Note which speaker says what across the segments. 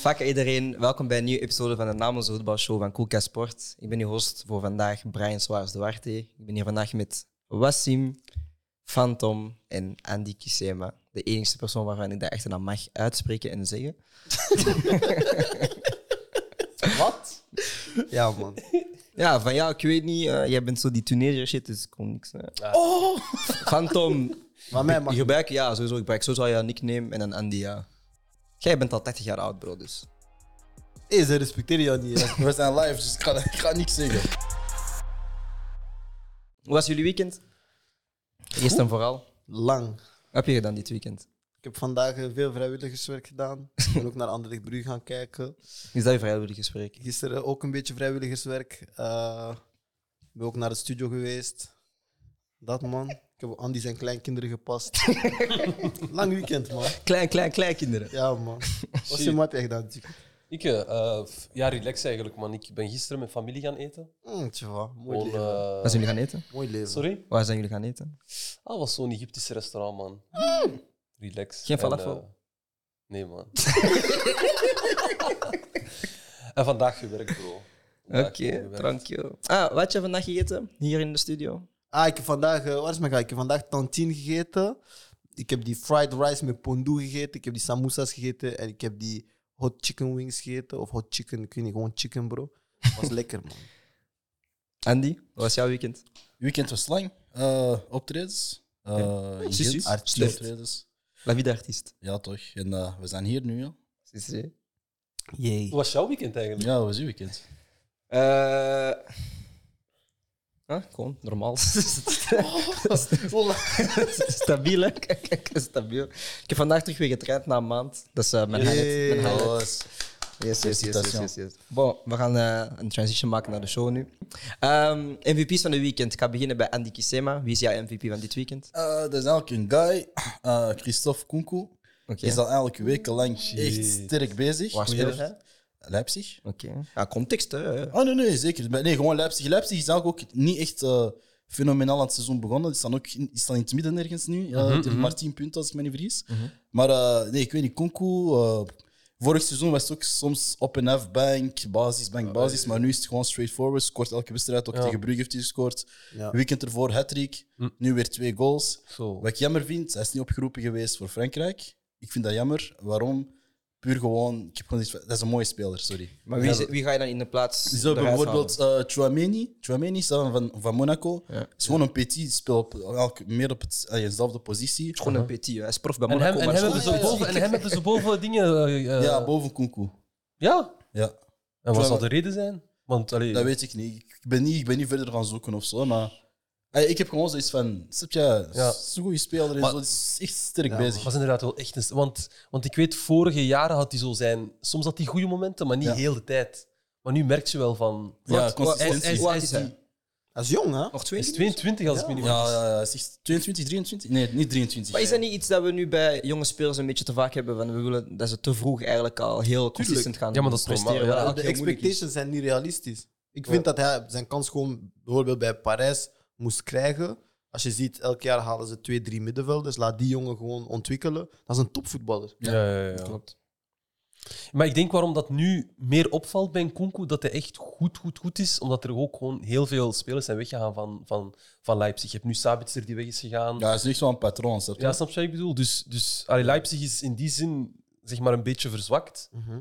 Speaker 1: Vaak iedereen, welkom bij een nieuwe episode van de Namens Voetbal Show van Koelka Sport. Ik ben uw host voor vandaag, Brian Swaars Duarte. Ik ben hier vandaag met Wassim, Phantom en Andy Kisema. De enige persoon waarvan ik de echte naam mag uitspreken en zeggen.
Speaker 2: Wat? Ja, man.
Speaker 1: Ja, van ja, ik weet niet, eh, jij bent zo die Tunesier shit, dus ik kon niks. eh. Phantom,
Speaker 2: Maar mij mag...
Speaker 1: je gebruik, ja, sowieso, ik gebruik sowieso jouw nickname en dan Andy, ja. Jij bent al 80 jaar oud, bro, dus.
Speaker 2: Hey, ze respecteren jou niet. hè. We zijn live, dus ik ga, ik ga niks zeggen.
Speaker 1: Hoe was jullie weekend? Eerst en vooral.
Speaker 2: Lang.
Speaker 1: Wat heb je gedaan dit weekend?
Speaker 2: Ik heb vandaag eh, veel vrijwilligerswerk gedaan. Ik ben ook naar Anderlecht-Brugge gaan kijken.
Speaker 1: Is dat je vrijwilligerswerk?
Speaker 2: Gisteren ook een beetje vrijwilligerswerk. Eh, Ik ben ook naar de studio geweest. Dat, man. Ik heb Andy zijn kleinkinderen gepast. Lang weekend, man.
Speaker 1: Klein, klein, klein kinderen.
Speaker 2: Ja, man. Wat je maat echt gedaan? Chico?
Speaker 3: Ik, eh, f- ja, relax eigenlijk, man. Ik ben gisteren met familie gaan eten.
Speaker 2: Mm, tjewa, mooi
Speaker 3: Gewoon,
Speaker 2: leven.
Speaker 3: eh,
Speaker 1: Waar zijn jullie gaan eten?
Speaker 2: Mooi leven.
Speaker 3: sorry?
Speaker 1: Waar zijn jullie gaan eten?
Speaker 3: Ah, was zo'n Egyptisch restaurant, man.
Speaker 4: Mm.
Speaker 3: Relax.
Speaker 1: Geen
Speaker 3: En,
Speaker 1: falafel?
Speaker 3: eh, nee, man. en vandaag gewerkt, bro.
Speaker 1: Oké,
Speaker 3: Vandaag gewerkt.
Speaker 1: dankjewel. Ah, wat heb je vandaag gegeten? Hier in de studio?
Speaker 2: Ah, ik heb vandaag, eh, waar is mijn guy? Ik heb vandaag tantine gegeten. Ik heb die fried rice met pondoe gegeten. Ik heb die samousa's gegeten. En ik heb die hot chicken wings gegeten. Of hot chicken, ik weet niet, gewoon chicken, bro. Was lekker, man.
Speaker 1: Andy, wat was jouw weekend?
Speaker 4: Weekend was lang. Eh, optredens. Eh, in
Speaker 1: Precies.
Speaker 4: Gent.
Speaker 1: Artiest.
Speaker 4: Optredens.
Speaker 1: La Vida Artiest.
Speaker 4: Ja, toch. En eh, we zijn hier nu, ja.
Speaker 1: Cissé.
Speaker 3: Hoe was jouw weekend eigenlijk?
Speaker 4: Ja, hoe was uw weekend?
Speaker 1: Eh, ah, gewoon normaal. Oh. stabiel, hè? Kijk, kijk, stabiel. Ik heb vandaag terug weer getraind na een maand. Dat is eh, mijn highlight. Mijn highlight. Yes, yes, yes, yes, yes, yes. Bon, we gaan eh, een transition maken naar de show nu. Ehm, MVP's van de weekend. Ik ga beginnen bij Andy Kisema. Wie is jouw MVP van dit weekend?
Speaker 4: Eh, dat is eigenlijk een guy, eh, Christophe Kunku.
Speaker 1: Oké.
Speaker 4: Is al eigenlijk wekenlang echt sterk bezig.
Speaker 1: Waar speelt hij?
Speaker 4: Leipzig.
Speaker 1: Oké. Ja, context, hè.
Speaker 4: Oh nee, nee, zeker. Maar Nee, gewoon Leipzig. Leipzig is eigenlijk ook niet echt eh, fenomenaal aan het seizoen begonnen. Die staan ook in, die staan in het midden ergens nu. Ja, het heeft maar 10 punten, als ik me niet vergis. Maar eh, nee, ik weet niet, Kunku... eh, vorig seizoen was het ook soms op en af, bank, basis, bank, basis. Maar nu is het gewoon straightforward. Scoort elke wedstrijd, ook
Speaker 3: eh, Ja.
Speaker 4: tegen Brugge heeft hij gescoord.
Speaker 2: Ja.
Speaker 4: Weekend ervoor, hat-trick. Nu weer twee goals.
Speaker 3: Zo.
Speaker 4: Wat ik jammer vind, hij is niet opgeroepen geweest voor Frankrijk. Ik vind dat jammer. Waarom? Puur gewoon... Ik heb gewoon iets van- dat is een mooie speler, sorry.
Speaker 1: Maar wie, is- wie ga je dan in de plaats
Speaker 4: Zo
Speaker 1: eruit
Speaker 4: bijvoorbeeld eh Chouameni. Chouameni is dan van, van Monaco.
Speaker 1: Ja.
Speaker 4: is gewoon een petit, speelt op, elk- meer op het, eh, dezelfde positie.
Speaker 1: halen? Gewoon een petit, hè. hij is prof bij
Speaker 3: En hem,
Speaker 1: Monaco.
Speaker 3: en,
Speaker 1: maar
Speaker 3: hem
Speaker 1: is
Speaker 3: hebben ze
Speaker 1: goed.
Speaker 3: boven, en hem hebben ze boven dingen... eh, eh,
Speaker 4: Ja, boven Kunku.
Speaker 3: ja?
Speaker 4: Ja,
Speaker 3: En wat
Speaker 4: Terwijl-
Speaker 3: zou de reden zijn? Want, allee,
Speaker 4: dat weet ik niet. Ik ben niet, ik ben niet verder gaan zoeken of zo, maar eh, ik heb gewoon zoiets van, snap je,
Speaker 3: Ja.
Speaker 4: zo'n goede speler en
Speaker 3: Maar-
Speaker 4: zo, die is echt sterk
Speaker 2: Ja,
Speaker 4: bezig.
Speaker 3: was inderdaad wel echt... een- Want, want ik weet, vorige jaren had hij zo zijn... Soms had hij goede momenten, maar niet
Speaker 4: Ja.
Speaker 3: heel de tijd. Maar nu merk je wel van...
Speaker 4: Ja,
Speaker 1: Wat- wat-
Speaker 4: consistentie.
Speaker 1: Hoe oud is hij?
Speaker 2: Dat is jong,
Speaker 4: Oh,
Speaker 2: hè?
Speaker 1: Nog
Speaker 3: Hij eh, is
Speaker 1: 20?
Speaker 3: 22 als ik me niet
Speaker 4: Ja,
Speaker 3: vergis.
Speaker 4: ja, ja, is echt 22, 23? Nee, niet 23.
Speaker 1: Maar is dat niet iets dat we nu bij jonge spelers een beetje te vaak hebben? Van we willen dat ze te vroeg eigenlijk al heel consistent gaan
Speaker 3: Ja, maar dat is
Speaker 1: presteren.
Speaker 3: normaal, ja.
Speaker 1: wat
Speaker 2: de
Speaker 1: eigenlijk heel moeilijk is.
Speaker 2: expectations zijn niet realistisch. Ik vind dat hij zijn kans gewoon bijvoorbeeld bij Parijs moest krijgen. Als je ziet, elk jaar halen ze twee, drie middenvelders. Laat die jongen gewoon ontwikkelen. Dat is een topvoetballer.
Speaker 3: Ja, ja, ja, Klopt. Maar ik denk waarom dat nu meer opvalt bij Nkunku, dat hij echt goed, goed, goed is. Omdat er ook gewoon heel veel spelers zijn weggegaan van, van, van Leipzig. Je hebt nu Sabitzer die weg is gegaan. Ja,
Speaker 4: Ja, hij is echt wel een patroon, snap je?
Speaker 3: snap je wat ik bedoel? Dus, dus allee, Leipzig is in die zin zeg maar een beetje verzwakt.
Speaker 4: Mhm.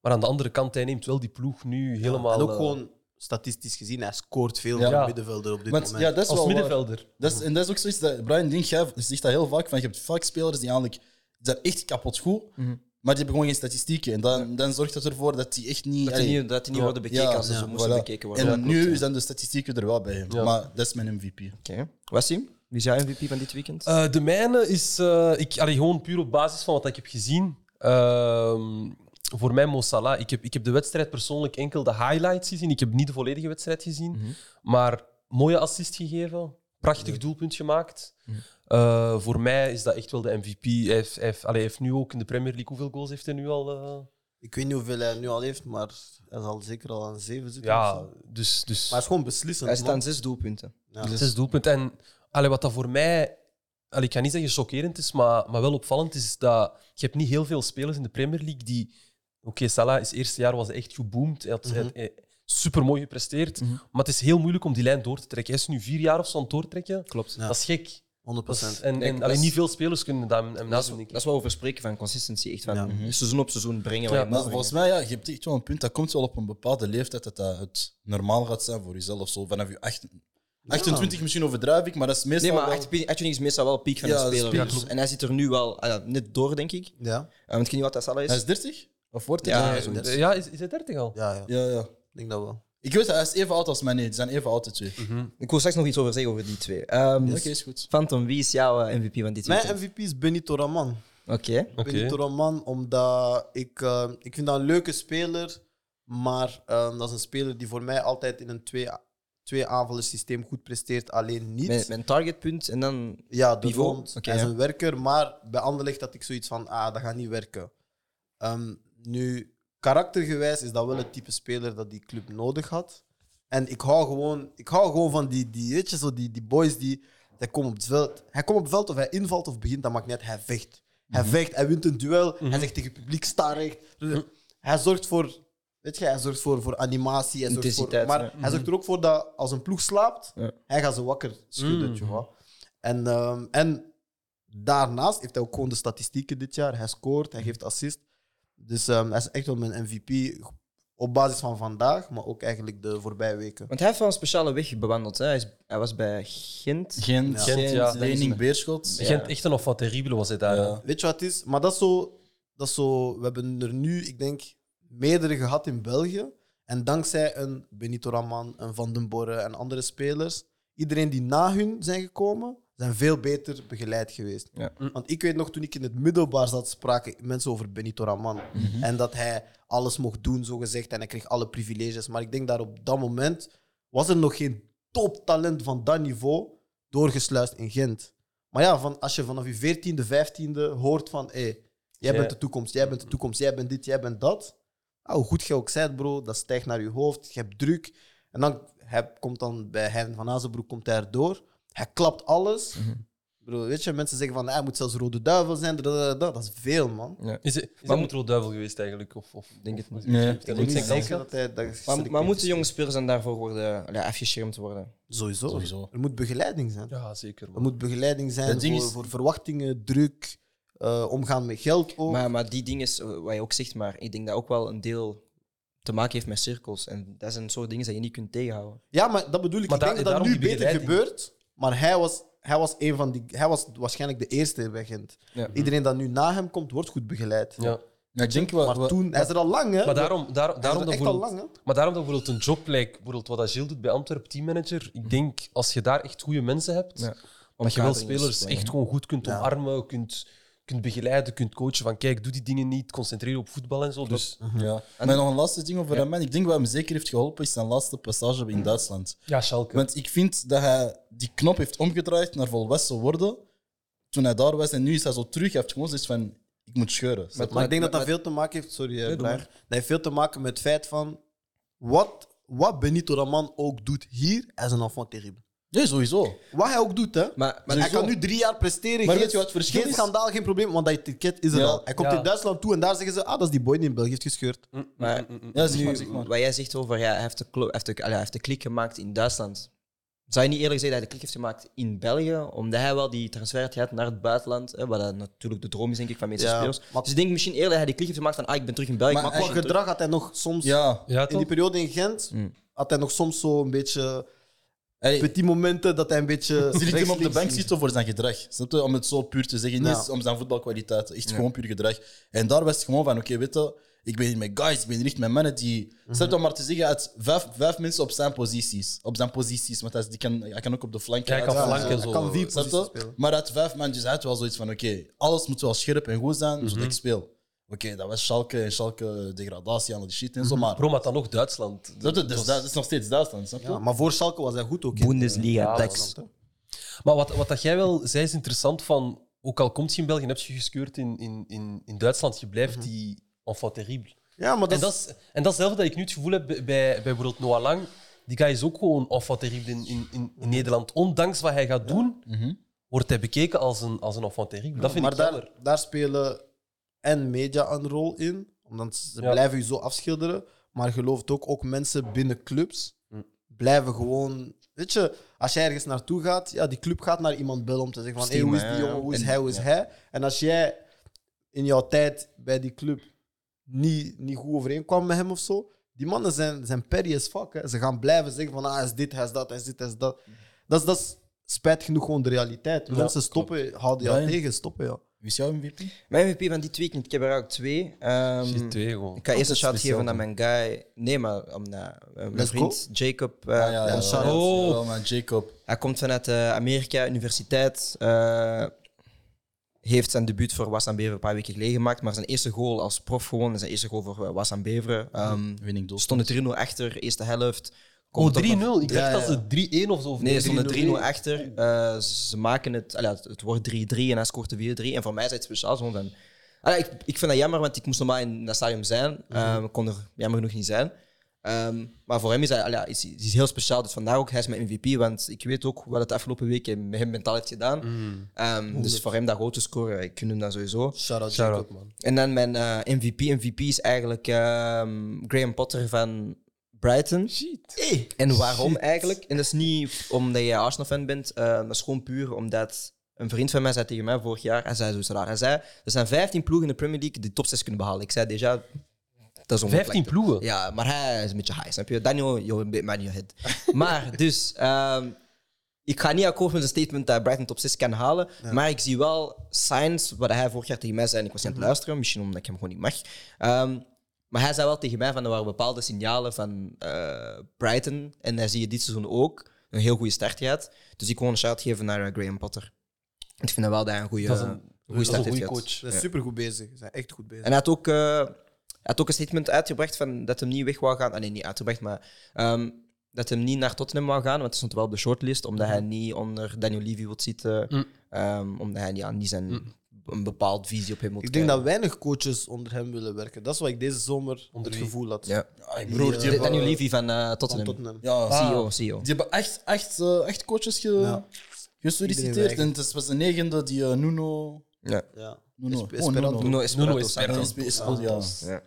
Speaker 3: Maar aan de andere kant, hij neemt wel die ploeg nu helemaal...
Speaker 2: en ook
Speaker 3: eh,
Speaker 2: gewoon statistisch gezien, hij scoort veel
Speaker 4: Ja.
Speaker 2: van middenvelder op dit
Speaker 4: Want-
Speaker 2: moment.
Speaker 4: ja, dat is
Speaker 3: als
Speaker 4: wel waar.
Speaker 3: middenvelder.
Speaker 4: Dat is, en dat is ook zoiets dat Brian Dink jij zegt dat heel vaak. Van, je hebt vaak spelers die eigenlijk die zijn echt kapot goed,
Speaker 1: Mhm.
Speaker 4: maar die hebben gewoon geen statistieken. En dan, dan zorgt dat ervoor dat die echt niet.
Speaker 1: Dat die
Speaker 4: allee,
Speaker 1: niet, dat die niet worden bekeken als ze zo moesten
Speaker 4: voilà.
Speaker 1: bekeken worden.
Speaker 4: En nu zijn de statistieken er wel bij hem. Maar dat is mijn MVP.
Speaker 1: Oké. Wassim, wie is jouw MVP van dit weekend?
Speaker 3: Eh, de mijne is, eh, ik, allee, gewoon puur op basis van wat ik heb gezien. Ehm, voor mij Mo Salah. Ik heb, ik heb de wedstrijd persoonlijk enkel de highlights gezien. Ik heb niet de volledige wedstrijd gezien. Maar mooie assist gegeven. Prachtig doelpunt gemaakt. Eh, voor mij is dat echt wel de MVP. Hij heeft, hij heeft- allee, hij heeft nu ook in de Premier League... Hoeveel goals heeft hij nu al? eh?
Speaker 2: Ik weet niet hoeveel hij nu al heeft, maar hij zal zeker al aan zeven zitten. of zo.
Speaker 3: ja,
Speaker 2: Maar
Speaker 3: dus... dus
Speaker 2: hij is gewoon beslissend.
Speaker 1: Hij staat
Speaker 2: man.
Speaker 1: aan zes doelpunten.
Speaker 3: Het is doelpunt. En allee, wat dat voor mij, allee, ik ga niet zeggen chockerend is, maar, maar wel opvallend is dat je hebt niet heel veel spelers in de Premier League die Salah is eerste jaar was hij echt geboomd. Hij had super mooi gepresteerd. Maar het is heel moeilijk om die lijn door te trekken. Hij is nu vier jaar of zo aan het doortrekken.
Speaker 1: Klopt.
Speaker 3: Dat is gek.
Speaker 2: 100
Speaker 3: Dat is-
Speaker 2: procent.
Speaker 3: en en
Speaker 1: dat
Speaker 3: alleen
Speaker 1: is-
Speaker 3: niet veel spelers kunnen dat hem- hem
Speaker 1: Dat is,
Speaker 3: nadoen. denk ik.
Speaker 1: dat is wat we over spreken van consistency. Echt van
Speaker 2: Ja.
Speaker 1: Mhm. seizoen op seizoen brengen.
Speaker 3: Ja,
Speaker 1: wat je
Speaker 4: Maar
Speaker 1: moet
Speaker 4: volgens
Speaker 1: brengen.
Speaker 4: mij, ja, je hebt echt wel een punt. Dat komt wel op een bepaalde leeftijd dat dat het normaal gaat zijn voor jezelf. Zo vanaf je acht- 28 misschien overdrijf ik, maar dat is meestal.
Speaker 1: Nee, maar
Speaker 4: wel-
Speaker 1: echt, Edwin is meestal wel piek van
Speaker 4: Ja,
Speaker 1: een
Speaker 4: dat is
Speaker 1: speler.
Speaker 4: piek.
Speaker 1: Ja, klopt. en hij zit er nu wel ah ja, net door, denk ik. Eh,
Speaker 2: Ja.
Speaker 1: want ik weet niet wat dat Salah is.
Speaker 4: Hij is 30? Of wordt hij?
Speaker 1: Ja,
Speaker 4: ja,
Speaker 1: zo.
Speaker 4: ja.
Speaker 3: Ja, is, is hij 30 al?
Speaker 2: Ja, ja.
Speaker 4: ja, ja.
Speaker 2: Ik denk dat wel.
Speaker 4: Ik weet dat hij is even oud als mij. Nee, die zijn even oud, de twee.
Speaker 1: Ik wil straks nog iets over zeggen over die twee. Ehm,
Speaker 4: Oké, is goed.
Speaker 1: Phantom, wie is jouw eh, MVP van die twee?
Speaker 2: Mijn MVP is Benito Raman.
Speaker 1: Oké.
Speaker 3: Oké.
Speaker 2: Benito Raman, omdat ik, eh, ik vind dat een leuke speler. Maar eh, dat is een speler die voor mij altijd in een twee, twee systeem goed presteert, alleen niet.
Speaker 1: Mijn, mijn targetpunt en dan...
Speaker 2: Ja, de
Speaker 1: Pivot.
Speaker 2: Rond.
Speaker 1: Oké,
Speaker 2: hij is
Speaker 1: ja.
Speaker 2: een werker, maar bij Anderlecht had ik zoiets van, ah, dat gaat niet werken. Ehm, nu, karaktergewijs is dat wel het type speler dat die club nodig had. En ik hou gewoon, ik hou gewoon van die, die, weet je, zo die, die boys die... Hij komt op het veld. Hij komt op het veld of hij invalt of begint, dat maakt niet uit. Hij vecht. Hij
Speaker 1: Mhm.
Speaker 2: vecht, hij wint een duel. Hij zegt tegen het publiek, sta recht. Hij zorgt voor... Weet je, hij zorgt voor, voor animatie. Hij zorgt voor,
Speaker 1: Intensiteit,
Speaker 2: maar
Speaker 1: ja.
Speaker 2: hij zorgt er ook voor dat als een ploeg slaapt,
Speaker 1: Ja.
Speaker 2: hij gaat ze wakker schudden.
Speaker 3: Mhm.
Speaker 2: je vois. En, ehm, en daarnaast heeft hij ook gewoon de statistieken dit jaar. Hij scoort, hij geeft assist. Dus ehm, hij is echt wel mijn MVP op basis van vandaag, maar ook eigenlijk de voorbije weken.
Speaker 1: Want hij heeft wel een speciale weg bewandeld. Hè. Hij, is, hij was bij Gent.
Speaker 4: Gent,
Speaker 2: Ja.
Speaker 4: Gent,
Speaker 3: Ja.
Speaker 4: Lening, Beerschot.
Speaker 1: Ja.
Speaker 3: Gent echt een of wat terribele was hij daar.
Speaker 4: Ja.
Speaker 2: Weet je wat het is? Maar dat is zo, dat is zo. We hebben er nu, ik denk, meerdere gehad in België. En dankzij een Benito Raman, een Van den Borre en andere spelers, iedereen die na hun zijn gekomen, zijn veel beter begeleid geweest.
Speaker 1: Ja.
Speaker 2: Want ik weet nog, toen ik in het middelbaar zat, spraken mensen over Benito Raman. En dat hij alles mocht doen, zogezegd, en hij kreeg alle privileges. Maar ik denk dat op dat moment was er nog geen toptalent van dat niveau doorgesluist in Gent. Maar ja, van, als je vanaf je veertiende, vijftiende hoort van... Hey, jij
Speaker 3: Ja.
Speaker 2: bent de toekomst, jij bent de toekomst, jij bent dit, jij bent dat. Ah, hoe goed je ook bent, bro, dat stijgt naar je hoofd, je hebt druk. En dan hij komt dan bij Hein van Azenbroek komt hij erdoor. Hij klapt alles. Bro, weet je, mensen zeggen van ah, hij moet zelfs rode duivel zijn. Dat, dat, dat, dat is veel, man.
Speaker 3: Is hij, is hij
Speaker 1: Maar-
Speaker 3: een rode duivel geweest eigenlijk? Of, of
Speaker 1: Denk het
Speaker 3: of-
Speaker 1: niet.
Speaker 4: Nee.
Speaker 3: Ik denk
Speaker 2: Ik
Speaker 3: niet
Speaker 2: ben
Speaker 3: zijn kans
Speaker 2: zeker
Speaker 3: gehad.
Speaker 2: dat hij dat
Speaker 1: Maar,
Speaker 2: geselecteerd
Speaker 1: maar
Speaker 2: is.
Speaker 1: moeten jonge spelers dan daarvoor worden, ja, afgeschermd worden?
Speaker 2: Sowieso.
Speaker 4: Sowieso.
Speaker 2: Er moet begeleiding zijn.
Speaker 3: Ja, zeker.
Speaker 2: Er
Speaker 3: man.
Speaker 2: moet begeleiding zijn
Speaker 4: Dat
Speaker 2: voor,
Speaker 4: ding is-
Speaker 2: voor verwachtingen, druk, eh, omgaan met geld ook.
Speaker 1: Maar, maar die dingen, is, eh, wat je ook zegt, maar ik denk dat ook wel een deel te maken heeft met cirkels. En dat zijn soort dingen die je niet kunt tegenhouden.
Speaker 2: Ja, maar dat bedoel ik.
Speaker 3: Maar
Speaker 2: ik denk dat dat
Speaker 3: daar- daarom
Speaker 2: nu
Speaker 3: die
Speaker 2: beter
Speaker 3: begeleiding.
Speaker 2: gebeurt. Maar hij was, hij, was een van die, hij was waarschijnlijk de eerste bij Gent.
Speaker 1: Ja.
Speaker 2: Iedereen dat nu na hem komt, wordt goed begeleid.
Speaker 3: Ja.
Speaker 4: Ja, ik denk wel.
Speaker 2: Maar
Speaker 4: wel-
Speaker 2: toen, hij is er al lang, hè?
Speaker 3: Maar daarom, daar,
Speaker 2: hij is
Speaker 3: daarom
Speaker 2: er
Speaker 3: dat
Speaker 2: echt al
Speaker 3: bijvoorbeeld-
Speaker 2: lang, hè?
Speaker 3: Maar daarom dat bijvoorbeeld een job lijkt, bijvoorbeeld wat dat Gilles doet bij Antwerp teammanager, ik denk als je daar echt goede mensen hebt,
Speaker 1: Ja.
Speaker 3: dat je wel
Speaker 1: Omkadering is
Speaker 3: spelers
Speaker 1: belangrijk.
Speaker 3: echt gewoon goed kunt omarmen, kunt, kunt begeleiden, kunt coachen van kijk, doe die dingen niet, concentreer je op voetbal en zo. Dus,
Speaker 4: Ja. Mhm. En nog een laatste ding over Raman. Ik denk wat hem zeker heeft geholpen is zijn laatste passage in Duitsland.
Speaker 3: ja, Schalke.
Speaker 4: Want ik vind dat hij die knop heeft omgedraaid naar volwassen worden toen hij daar was. En nu is hij zo terug. Hij heeft gewoon zoiets van: ik moet scheuren.
Speaker 2: Maar, ik denk dat dat veel te maken heeft... Sorry, eh,
Speaker 1: doe
Speaker 2: Brian.
Speaker 1: maar.
Speaker 2: Dat heeft veel te maken met het feit van... Wat, wat Benito Raman ook doet hier, hij is een enfant terrible.
Speaker 4: Nee, sowieso.
Speaker 2: Wat hij ook doet, hè?
Speaker 1: Maar, maar
Speaker 2: hij
Speaker 1: ik
Speaker 2: kan nu drie jaar presteren.
Speaker 4: Maar
Speaker 2: geen,
Speaker 4: weet je wat het verschil
Speaker 2: geen
Speaker 4: is?
Speaker 2: schandaal, geen probleem, want dat etiket is er
Speaker 4: Ja.
Speaker 2: al. Hij komt
Speaker 3: Ja.
Speaker 2: in Duitsland toe en daar zeggen ze: ah, dat is die boy die in België heeft gescheurd.
Speaker 4: Mm.
Speaker 1: maar
Speaker 4: Ja, zeg
Speaker 1: nu,
Speaker 4: maar, zeg maar.
Speaker 1: wat jij zegt over, ja, hij, heeft de klo- hij heeft de, allee, hij heeft de klik gemaakt in Duitsland. Zou je niet eerlijk zeggen dat hij de klik heeft gemaakt in België, omdat hij wel die transfer had gehad naar het buitenland, hè, wat dat natuurlijk de droom is denk ik van meeste
Speaker 2: Ja,
Speaker 1: spelers.
Speaker 2: maar-
Speaker 1: Dus ik denk misschien eerder dat hij die klik heeft gemaakt van, ah, ik ben terug in België. eh,
Speaker 4: Maar
Speaker 1: ik
Speaker 2: Maar
Speaker 1: ben
Speaker 2: qua
Speaker 1: terug.
Speaker 2: gedrag had hij nog soms.
Speaker 4: Ja. Mm.
Speaker 3: ja,
Speaker 2: In
Speaker 3: toch?
Speaker 2: die periode in Gent had hij nog soms zo een beetje.
Speaker 4: Hij
Speaker 2: Petit momenten dat hij een beetje.
Speaker 4: ze liet hem op de
Speaker 2: rechts-links
Speaker 4: bank
Speaker 2: ging.
Speaker 4: zitten voor zijn gedrag. Snap je? Om het zo puur te zeggen. Niet
Speaker 2: Ja.
Speaker 4: eens om zijn voetbalkwaliteit. Echt gewoon puur gedrag. En daar was het gewoon van: oké, weet je, ik ben hier met guys, ik ben hier echt met mannen die.
Speaker 3: Mhm.
Speaker 4: Snap je om maar te zeggen, uit vijf, vijf mensen op zijn posities. Op zijn posities, want hij, is- die kan, hij kan ook op de flank.
Speaker 3: Ja, hij kan
Speaker 4: uit-
Speaker 3: flanken
Speaker 2: hij
Speaker 3: zo. eh,
Speaker 2: kan vier
Speaker 4: Snap je?
Speaker 2: posities spelen.
Speaker 4: Maar uit vijf mandjes had wel zoiets van: oké, alles moet wel scherp en goed zijn,
Speaker 3: Mhm.
Speaker 4: zodat ik speel. Oké, dat was Schalke en Schalke degradatie en al die shit en zo, maar.
Speaker 3: Mhm. Bro, maar dan nog Duitsland.
Speaker 4: Dat, dat, is- dat is nog steeds Duitsland, snap je?
Speaker 2: Ja, maar voor Schalke was hij goed ook. in-
Speaker 1: Bundesliga,
Speaker 2: Ja,
Speaker 1: Dax.
Speaker 3: Maar wat, wat dat jij wel zei is interessant van, ook al komt je in België en heb je geskeurd in, in, in, in Duitsland, je blijft die enfant terrible.
Speaker 2: Ja, maar dat,
Speaker 3: En dat, is, en dat is hetzelfde dat ik nu het gevoel heb bij, bij bij bijvoorbeeld Noah Lang. Die guy is ook gewoon enfant terrible in, in, in, in Nederland. Ondanks wat hij gaat doen, wordt hij bekeken als een, als een enfant terrible. Dat vind
Speaker 2: maar
Speaker 3: ik
Speaker 2: daar,
Speaker 3: jammer.
Speaker 2: daar spelen en media een rol in. Omdat ze
Speaker 3: Ja.
Speaker 2: blijven je zo afschilderen. Maar geloof het ook, ook mensen binnen clubs
Speaker 4: Hm.
Speaker 2: blijven gewoon... Weet je, als jij ergens naartoe gaat, ja, die club gaat naar iemand bellen om te zeggen van hey,
Speaker 4: Steam,
Speaker 2: hoe is
Speaker 4: hè,
Speaker 2: die
Speaker 4: ja.
Speaker 2: jongen, hoe is
Speaker 4: En-
Speaker 2: hij, hoe is
Speaker 4: ja.
Speaker 2: hij. En als jij in jouw tijd bij die club niet, niet goed overeenkwam met hem of zo, die mannen zijn, zijn petty as fuck. Hè. Ze gaan blijven zeggen van ah, hij is dit, hij is dat, hij is dit, hij is dat. Dat is, dat is spijt genoeg gewoon de realiteit. Mensen stoppen, houden jou
Speaker 4: Brian.
Speaker 2: tegen, stoppen jou.
Speaker 4: Wie is jouw MVP?
Speaker 1: Mijn MVP van dit weekend, ik heb er ook twee. Ehm,
Speaker 3: Die twee gewoon.
Speaker 1: ik ga eerst een
Speaker 4: Altijd
Speaker 1: shout
Speaker 4: speciaal,
Speaker 1: geven aan mijn guy. Nee, maar om naar eh, mijn
Speaker 2: Let's go.
Speaker 1: vriend Jacob. eh,
Speaker 4: Ah, ja, ja,
Speaker 2: shout-out.
Speaker 4: Oh,
Speaker 3: Oh.
Speaker 4: wel, man, Jacob.
Speaker 1: Hij komt vanuit eh, Amerika, universiteit. eh, heeft zijn debuut voor Wasan Beveren een paar weken geleden gemaakt. Maar zijn eerste goal als prof gewoon, en zijn eerste goal voor Wasan Beveren. ehm,
Speaker 4: Winning doel.
Speaker 1: stond het 3-0 achter, eerste helft.
Speaker 3: Oh, 3-0.
Speaker 1: Komt op een-
Speaker 3: Ik
Speaker 2: Ja,
Speaker 3: dacht dat
Speaker 2: ja.
Speaker 3: ze 3-1 of zo. of
Speaker 1: Nee, ze
Speaker 3: 3-0.
Speaker 1: stonden 3-0 achter. Eh, ze maken het, allee, het, het wordt 3-3 en hij scoort de 4-3. En voor mij is het speciaal. Zo van, allee, ik, ik vind dat jammer, want ik moest normaal in dat stadium zijn.
Speaker 2: Mhm.
Speaker 1: Ehm, ik kon er jammer genoeg niet zijn. Ehm, maar voor hem is hij allee, is, is heel speciaal. Dus vandaar ook, hij is mijn MVP. Want ik weet ook wat het afgelopen week met hem mentaal heeft gedaan.
Speaker 2: Mhm.
Speaker 1: Ehm, dus voor hem dat goal te scoren, ik gun hem dat sowieso.
Speaker 2: Shout-out
Speaker 3: Shout-out,
Speaker 2: Jacob, man.
Speaker 1: En dan mijn eh, MVP. MVP is eigenlijk ehm, Graham Potter van Brighton. En waarom eigenlijk? En dat is niet omdat jij Arsenal-fan bent. eh, dat is gewoon puur omdat een vriend van mij zei tegen mij vorig jaar, hij zei zoiets raar. Hij zei, er zijn 15 ploegen in de Premier League die top 6 kunnen behalen. Ik zei, déjà, dat is ongeveer.
Speaker 3: 15 ploegen.
Speaker 1: Ja, maar hij is een beetje high, snap je? Daniel, you're a bit man in your head. Maar dus, ehm, ik ga niet akkoord met een statement dat Brighton top 6 kan halen. Maar ik zie wel signs, wat hij vorig jaar tegen mij zei. En ik was aan
Speaker 3: Mhm.
Speaker 1: het luisteren, misschien omdat ik hem gewoon niet mag. Ehm, maar hij zei wel tegen mij van er waren bepaalde signalen van eh, Brighton. En daar zie je dit seizoen ook. Een heel goede start gehad. Dus ik wil een shout geven naar eh, Graham Potter. Ik vind dat wel dat hij een goede,
Speaker 3: Dat is een-
Speaker 1: een
Speaker 3: dat
Speaker 1: goede
Speaker 3: is een
Speaker 1: start heeft
Speaker 3: goede
Speaker 1: gehad.
Speaker 3: coach.
Speaker 2: Ze zijn supergoed bezig. Ze zijn echt goed bezig.
Speaker 1: En hij had ook, eh, hij had ook een statement uitgebracht van dat hij niet weg wou gaan. Ah, nee, niet uitgebracht, maar ehm, dat hij niet naar Tottenham wou gaan. Want hij stond wel op de shortlist, omdat hij niet onder Daniel Levy wil zitten.
Speaker 3: Mm.
Speaker 1: Ehm, omdat hij ja, niet zijn, een bepaald visie op hem wil
Speaker 2: ik denk dat weinig coaches onder hem willen werken. Dat is wat ik deze zomer
Speaker 3: Onder
Speaker 2: het
Speaker 3: wie?
Speaker 2: gevoel had.
Speaker 1: Ja.
Speaker 4: Ah, ik
Speaker 2: Die,
Speaker 4: broer,
Speaker 2: eh,
Speaker 4: die
Speaker 1: De-
Speaker 4: hebben...
Speaker 1: Daniel Levy van eh,
Speaker 2: Van
Speaker 1: Tottenham.
Speaker 2: Tottenham.
Speaker 4: Ja,
Speaker 1: CEO, CEO.
Speaker 4: Die hebben echt, echt, eh, echt coaches ge...
Speaker 2: Ja.
Speaker 4: gesolliciteerd.
Speaker 2: Iedereen
Speaker 4: En het was de negende, die eh, Nuno...
Speaker 1: Ja.
Speaker 2: Ja.
Speaker 4: Nuno.
Speaker 2: Espe-
Speaker 4: Oh,
Speaker 2: Esperanto. Ah.
Speaker 4: Nuno.
Speaker 1: Nuno Espirito
Speaker 3: Nuno
Speaker 1: Santo.
Speaker 4: Ja,
Speaker 3: Esperanto.
Speaker 4: Espe- Espe- ja.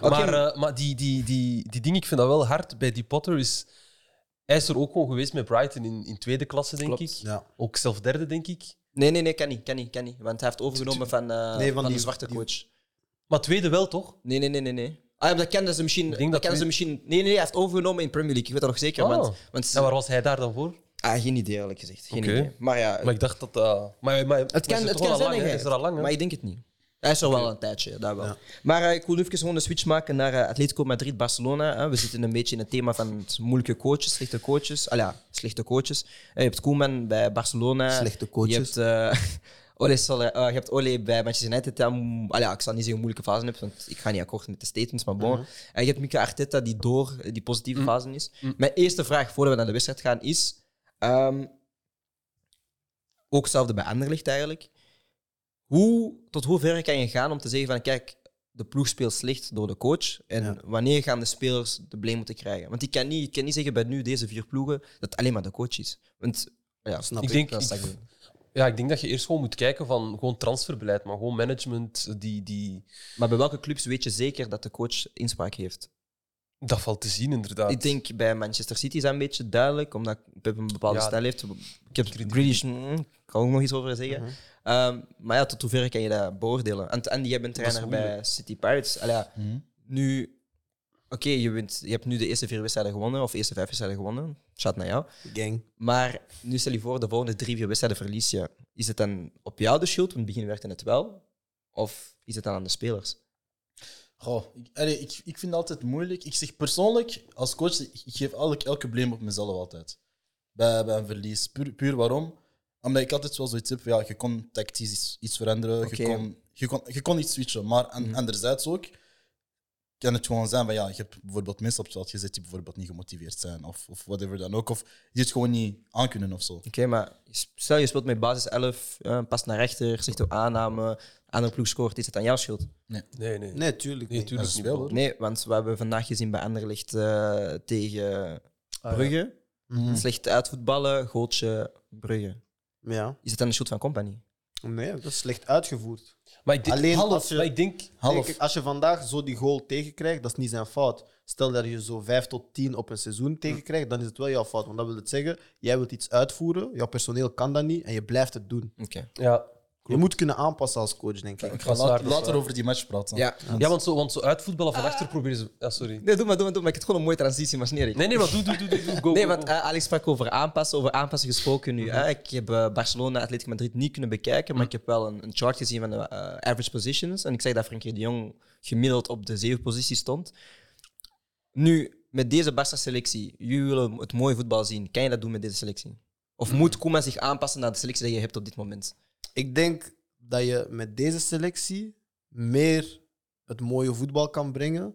Speaker 1: Ja.
Speaker 3: Maar,
Speaker 1: Oké.
Speaker 3: eh, maar die, die, die, die ding, ik vind dat wel hard bij die Potter. Is, hij is er ook gewoon geweest met Brighton in, in tweede klasse, denk
Speaker 1: Klopt.
Speaker 3: ik.
Speaker 2: Ja.
Speaker 3: Ook zelf derde, denk ik.
Speaker 1: Nee, nee, nee, kan niet, kan niet, kan niet. Want hij heeft overgenomen van, eh,
Speaker 2: Nee, van
Speaker 1: van,
Speaker 2: die-
Speaker 1: de zwarte
Speaker 2: die-
Speaker 1: coach.
Speaker 3: Maar tweede wel, toch?
Speaker 1: Nee, nee, nee, nee. nee. Ah, ja, maar dat kennen ze misschien.
Speaker 3: Ik
Speaker 1: Dat
Speaker 3: denk dat
Speaker 1: kennen ze misschien. Nee, nee, nee, hij heeft overgenomen in Premier League. Ik weet dat nog zeker.
Speaker 3: Oh.
Speaker 1: Want, want
Speaker 3: En waar was hij daar dan voor?
Speaker 1: Ah, geen idee, eerlijk gezegd. Geen
Speaker 3: Oké.
Speaker 1: idee. Maar ja,
Speaker 3: Maar ik dacht dat... eh, maar, maar,
Speaker 1: het kan, het kan zijn,
Speaker 3: lang,
Speaker 1: hè,
Speaker 3: hè?
Speaker 1: jij.
Speaker 3: Is er al lang, hè?
Speaker 1: Maar ik denk het niet. Hij is er wel een tijdje, daar wel. Maar eh, ik wil even gewoon een switch maken naar eh, Atletico Madrid-Barcelona. hè. We zitten een beetje in het thema van het moeilijke coaches, slechte coaches. Ah ja, slechte coaches. Eh, je hebt Koeman bij Barcelona.
Speaker 2: Slechte coaches.
Speaker 1: Je hebt, eh, Ole Soler- eh, je hebt Ole bij Manchester United. die aan- ah ja, ik zal niet zeggen hoe moeilijke fase hebt, want ik ga niet akkoord met de statements, maar
Speaker 3: Mhm.
Speaker 1: bon. En je hebt Mikel Arteta die door eh, die positieve fase is.
Speaker 3: Mhm.
Speaker 1: Mijn eerste vraag voordat we naar de wedstrijd gaan is... ehm, ook hetzelfde bij Anderlicht eigenlijk. Hoe, tot hoever kan je gaan om te zeggen van kijk, de ploeg speelt slecht door de coach. En
Speaker 2: Ja.
Speaker 1: wanneer gaan de spelers de blame moeten krijgen? Want ik kan niet, ik kan niet zeggen bij nu deze vier ploegen dat het alleen maar de coach is. Want ja,
Speaker 2: Snap
Speaker 3: Ik
Speaker 2: ik.
Speaker 3: denk,
Speaker 1: dat is
Speaker 3: ik-
Speaker 1: dat.
Speaker 3: ja, ik denk dat je eerst gewoon moet kijken van gewoon transferbeleid, maar gewoon management, die, die,
Speaker 1: Maar bij welke clubs weet je zeker dat de coach inspraak heeft?
Speaker 3: dat valt te zien inderdaad.
Speaker 1: Ik denk bij Manchester City is dat een beetje duidelijk, omdat Pep een bepaalde
Speaker 3: Ja.
Speaker 1: stijl heeft. Ik heb Grealish, mm, ik kan ook nog iets over zeggen. Ehm, maar ja, tot hoever kan je dat beoordelen? En, en jij bent trainer bij City Pirates. Allee, ja, Nu, oké, je, wint- je hebt nu de eerste vier wedstrijden gewonnen, of eerste vijf wedstrijden gewonnen. Shout naar jou.
Speaker 2: Gang.
Speaker 1: Maar nu stel je voor, de volgende drie, vier wedstrijden verlies je. Is het dan op jou de schuld? Want in het begin werkte het wel. Of is het dan aan de spelers?
Speaker 4: Goh, ik, allee, ik, ik vind het altijd moeilijk. Ik zeg persoonlijk, als coach, ik ik geef elk, elke blame op mezelf altijd. Bij, bij een verlies. Puur, puur waarom? Omdat ik altijd wel zoiets heb van, ja, je kon tactisch iets, iets veranderen,
Speaker 1: Oké.
Speaker 4: je, kon, je, kon, je kon iets switchen. Maar aan- anderzijds ook, kan het gewoon zijn van, ja, je hebt bijvoorbeeld mensen op het veld gezet die bijvoorbeeld niet gemotiveerd zijn, of, of whatever dan ook. Of die het gewoon niet aankunnen of zo.
Speaker 1: Oké, maar stel je speelt met basis 11, eh, pas naar rechter, zegt op aanname, andere ploeg scoort, is het aan jouw schuld?
Speaker 3: Nee, nee.
Speaker 2: Nee, tuurlijk
Speaker 3: Nee,
Speaker 2: niet.
Speaker 3: tuurlijk
Speaker 4: is
Speaker 3: niet.
Speaker 4: wel,
Speaker 3: bro.
Speaker 4: hoor.
Speaker 1: Nee, want we hebben vandaag gezien bij Anderlecht eh, tegen Brugge. Slecht uitvoetballen, gootje Brugge.
Speaker 2: Ja.
Speaker 1: Is het dan de schuld van Company?
Speaker 2: Nee, dat is slecht uitgevoerd.
Speaker 3: Maar ik denk,
Speaker 2: Alleen
Speaker 3: half,
Speaker 2: als je-
Speaker 3: maar ik denk
Speaker 4: Half.
Speaker 2: Kijk, als je vandaag zo die goal tegenkrijgt, dat is niet zijn fout. Stel dat je zo 5 tot 10 op een seizoen tegenkrijgt, dan is het wel jouw fout. Want dat wil het zeggen, jij wilt iets uitvoeren, jouw personeel kan dat niet en je blijft het doen.
Speaker 1: Oké.
Speaker 3: ja,
Speaker 2: Je moet kunnen aanpassen als coach, denk ik.
Speaker 4: Ik ga
Speaker 3: Dat is
Speaker 4: laat-
Speaker 3: waar, dat is
Speaker 4: later
Speaker 3: waar.
Speaker 4: over die match praten.
Speaker 1: Ja.
Speaker 3: dus- ja want, zo, want zo uit voetballen van achter proberen ze. Ja, sorry.
Speaker 1: Nee, doe maar, doe maar, doe maar. Ik heb gewoon een mooie transitie, maar sneer ik.
Speaker 3: Nee, nee, maar doe, doe, doe, doe, doe. Go,
Speaker 1: Nee,
Speaker 3: go,
Speaker 1: want
Speaker 3: go.
Speaker 1: eh, Alex sprak over aanpassen. Over aanpassen gesproken nu. hè. Ik heb eh, Barcelona, Atletico Madrid niet kunnen bekijken, maar ik heb wel een, een chart gezien van de eh, average positions. En ik zei dat Frenkie de Jong gemiddeld op de zeven positie stond. Nu, met deze Barça-selectie, jullie willen het mooie voetbal zien. Kan je dat doen met deze selectie? Of moet Koeman zich aanpassen naar de selectie die je hebt op dit moment?
Speaker 2: Ik denk dat je met deze selectie meer het mooie voetbal kan brengen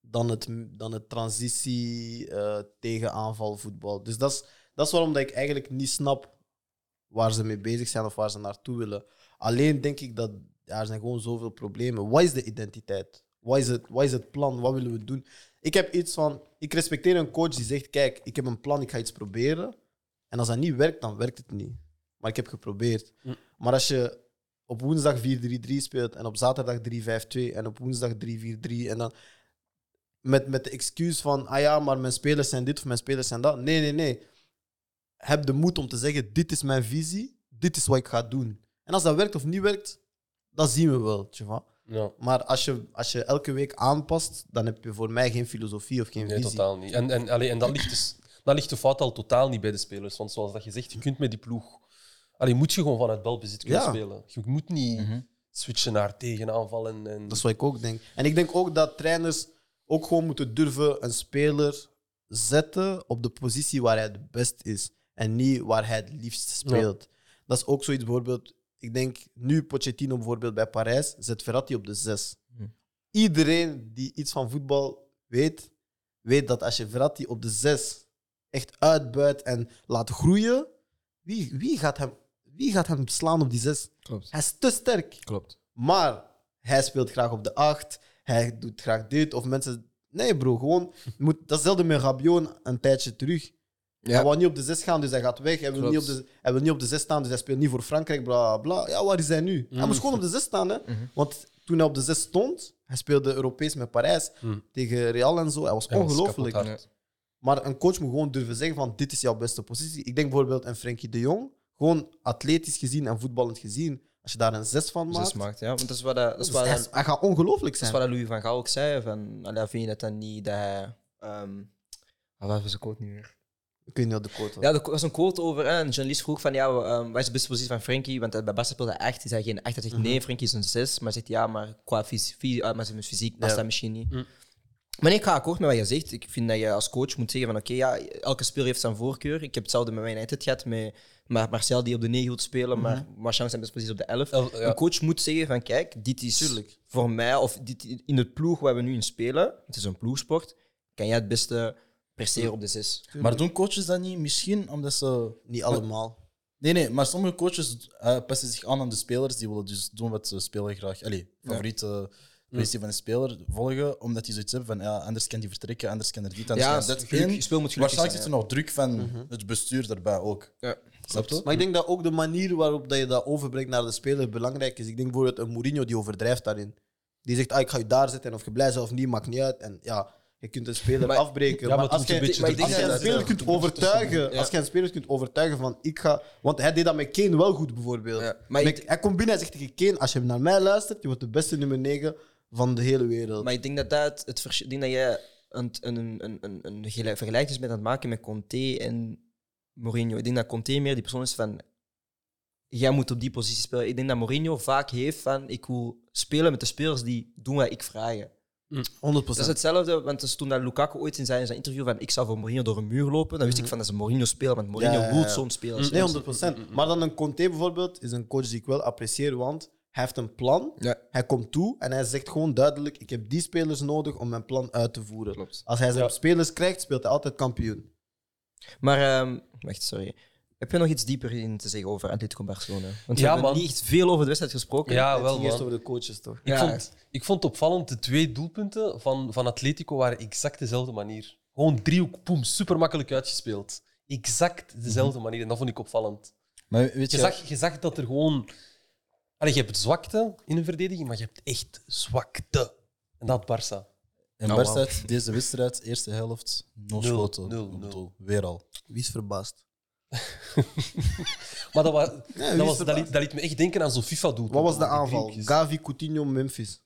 Speaker 2: dan het, dan het transitie eh tegenaanval voetbal. Dus dat is, dat is waarom dat ik eigenlijk niet snap waar ze mee bezig zijn of waar ze naartoe willen. Alleen denk ik dat ja, er zijn gewoon zoveel problemen. Wat is de identiteit? Wat is, het, wat is het plan? Wat willen we doen? Ik heb iets van... Ik respecteer een coach die zegt, kijk, ik heb een plan, ik ga iets proberen. En als dat niet werkt, dan werkt het niet. Maar ik heb geprobeerd. Maar als je op woensdag 4-3-3 speelt en op zaterdag 3-5-2 en op woensdag 3-4-3 en dan met, met de excuus van, ah ja, maar mijn spelers zijn dit of mijn spelers zijn dat. Nee, nee, nee. Heb de moed om te zeggen, dit is mijn visie, dit is wat ik ga doen. En als dat werkt of niet werkt, dat zien we wel. tje van.
Speaker 3: Ja.
Speaker 2: Maar als je, als je elke week aanpast, dan heb je voor mij geen filosofie of geen
Speaker 3: Nee,
Speaker 2: visie.
Speaker 3: totaal niet. En, en, allee, en dat, ligt dus, dat ligt de fout al totaal niet bij de spelers. Want zoals dat je zegt, je kunt met die ploeg... Allee, moet je gewoon vanuit balbezit kunnen
Speaker 2: Ja. Mhm.
Speaker 3: spelen. Je moet niet switchen naar tegenaanval en... en...
Speaker 2: Dat is wat ik ook denk. En ik denk ook dat trainers ook gewoon moeten durven een speler zetten op de positie waar hij het best is. En niet waar hij het liefst speelt. Dat is ook zoiets bijvoorbeeld. Ik denk nu Pochettino bijvoorbeeld bij Parijs zet Verratti op de zes. Iedereen die iets van voetbal weet, weet dat als je Verratti op de zes echt uitbuit en laat groeien, wie, wie, gaat, hem, wie gaat hem slaan op die zes?
Speaker 1: Klopt.
Speaker 2: Hij is te sterk.
Speaker 1: Klopt.
Speaker 2: Maar hij speelt graag op de 8. Hij doet graag dit. Of mensen. Nee, bro, gewoon. je Moet, dat is hetzelfde met Rabiot een- een tijdje terug.
Speaker 1: Ja.
Speaker 2: Hij wil niet op de 6 gaan, dus hij gaat weg. Hij wil,
Speaker 1: Klopt.
Speaker 2: niet op de, hij wil niet op de 6 staan, dus hij speelt niet voor Frankrijk, bla bla. Ja, waar is hij nu?
Speaker 3: Mhm.
Speaker 2: Hij moest gewoon op de 6 staan, hè? Want toen hij op de 6 stond, hij speelde Europees met Parijs
Speaker 3: Mhm.
Speaker 2: tegen Real en zo. Hij was
Speaker 3: Hij was
Speaker 2: ongelooflijk.
Speaker 3: kapot hard.
Speaker 2: Maar een coach moet gewoon durven zeggen van dit is jouw beste positie. Ik denk bijvoorbeeld een Frenkie de Jong. Gewoon atletisch gezien en voetballend gezien. Als je daar een 6 van maakt,
Speaker 1: Zes maakt, ja. Want dat is wat, eh, dat, dat is wat,
Speaker 2: hij,
Speaker 1: dat
Speaker 2: hij gaat ongelooflijk
Speaker 1: is
Speaker 2: zijn.
Speaker 1: wat Louis van Gaal ook zei. Van, allee, vind je dat dan niet dat hij... ehm, ah, wat was de quote nu weer?
Speaker 2: Ik weet niet wat de quote was.
Speaker 1: Ja, er was een quote over. Hè. Een journalist vroeg van, ja, ehm, wat is de beste positie van Frenkie? Want eh, bij Barca speelde hij echt. Hij zei geen echt. Hij zegt, nee, Frenkie is een 6. Maar hij zegt, ja, maar qua fys- fy- ah, maar zijn fysiek past
Speaker 2: Ja.
Speaker 1: dat misschien niet.
Speaker 3: Mm.
Speaker 1: Maar nee, ik ga akkoord met wat je zegt. Ik vind dat je als coach moet zeggen van, oké, ja, elke speler heeft zijn voorkeur. Ik heb hetzelfde met mijn United gehad, met Mar- Marcel die op de 9 wil spelen, maar Marchand zijn best precies op de 11.
Speaker 3: El- ja.
Speaker 1: Een coach moet zeggen van, kijk, dit is voor mij, of dit, in het ploeg waar we nu in spelen, het is een ploegsport, kan jij het beste presteren op de 6.
Speaker 4: Maar doen coaches dat niet? Misschien omdat ze.
Speaker 2: Niet allemaal.
Speaker 4: Nee, nee, maar sommige coaches eh, passen zich aan aan de spelers. Die willen dus doen wat de speler graag. Allee, favoriete
Speaker 1: Mm.
Speaker 4: positie van de speler volgen. Omdat die zoiets hebben van ja, anders kan die vertrekken, anders kan er dit, anders
Speaker 1: Ja,
Speaker 4: kan er dat.
Speaker 1: het geluk-
Speaker 4: En
Speaker 1: je speel moet gelukkig
Speaker 4: Waarschijnlijk
Speaker 1: zijn, Mhm.
Speaker 4: zit er nog druk van het bestuur daarbij ook.
Speaker 1: Ja.
Speaker 4: Snap je?
Speaker 2: Maar ik denk dat ook de manier waarop dat je dat overbrengt naar de speler belangrijk is. Ik denk bijvoorbeeld een Mourinho die overdrijft daarin. Die zegt, ah, ik ga je daar zetten en of je blij bent of niet, maakt niet uit. En ja, je kunt een speler
Speaker 1: Maar-
Speaker 2: afbreken.
Speaker 3: Ja,
Speaker 2: maar
Speaker 3: maar het
Speaker 2: als
Speaker 3: moet een
Speaker 2: je
Speaker 3: beetje
Speaker 1: maar
Speaker 2: als
Speaker 1: ik denk
Speaker 2: je een
Speaker 1: dat-
Speaker 2: speler kunt overtuigen, als je een speler kunt overtuigen van ik ga... Want hij deed dat met Kane wel goed, bijvoorbeeld.
Speaker 1: Ja, maar ik-
Speaker 2: Met- hij komt binnen en zegt tegen Kane, als je naar mij luistert, je wordt de beste nummer 9 van de hele wereld.
Speaker 1: Maar ik denk dat dat het, het verschil. Ik denk dat jij een, een, een, een, een gele- vergelijking bent aan het maken met Conte en Mourinho. Ik denk dat Conte meer die persoon is van. Jij moet op die positie spelen. Ik denk dat Mourinho vaak heeft van. Ik wil spelen met de spelers die doen wat ik vraag.
Speaker 2: 100
Speaker 1: Dat is hetzelfde, want dus toen dat Lukaku ooit in zijn, in zijn interview van ik zou voor Mourinho door een muur lopen, dan wist ik van dat ze Mourinho spelen, want Mourinho
Speaker 2: Mhm. Ja, ja,
Speaker 1: wil
Speaker 2: ja.
Speaker 1: zo'n speler.
Speaker 2: Nee, 100
Speaker 1: mm,
Speaker 2: Maar dan een Conte bijvoorbeeld is een coach die ik wel apprecieer, want hij heeft een plan.
Speaker 1: Ja.
Speaker 2: Hij komt toe en hij zegt gewoon duidelijk: ik heb die spelers nodig om mijn plan uit te voeren.
Speaker 1: Klopt.
Speaker 2: Als hij zijn
Speaker 3: Ja.
Speaker 2: spelers krijgt, speelt hij altijd kampioen.
Speaker 1: Maar, ehm, wacht, sorry. Heb je nog iets dieper in te zeggen over Atletico Barcelona? Want we
Speaker 3: Ja,
Speaker 1: hebben
Speaker 3: man.
Speaker 1: niet echt veel over de wedstrijd gesproken.
Speaker 3: Ja,
Speaker 2: het
Speaker 3: wel,
Speaker 2: ging eerst
Speaker 3: man.
Speaker 2: over de coaches toch?
Speaker 3: Ik,
Speaker 1: Ah, Ja.
Speaker 3: vond, ik vond het opvallend, de twee doelpunten van, van Atletico waren exact dezelfde manier. Gewoon driehoek, poem, super makkelijk
Speaker 2: Mhm.
Speaker 3: uitgespeeld. Exact dezelfde manier. En dat vond ik opvallend.
Speaker 4: Maar weet
Speaker 3: Je
Speaker 4: je,
Speaker 3: zag, je zag dat er gewoon Allee, je hebt zwakte in hun verdediging, maar je hebt echt zwakte. En dat Barça.
Speaker 4: En
Speaker 1: Oh,
Speaker 4: Barst
Speaker 1: wauw.
Speaker 4: uit deze wedstrijd, eerste helft, nul
Speaker 3: Nul,
Speaker 4: schoten.
Speaker 3: nul,
Speaker 4: op
Speaker 3: nul.
Speaker 4: doel. Weer al.
Speaker 2: Wie is verbaasd?
Speaker 3: Maar dat, wa-
Speaker 2: wie
Speaker 3: dat,
Speaker 2: is
Speaker 3: was, dat,
Speaker 2: verbaasd?
Speaker 3: liet, dat liet me echt denken aan zo'n FIFA doet.
Speaker 2: Wat was de aanval? Gavi, Coutinho, Memphis.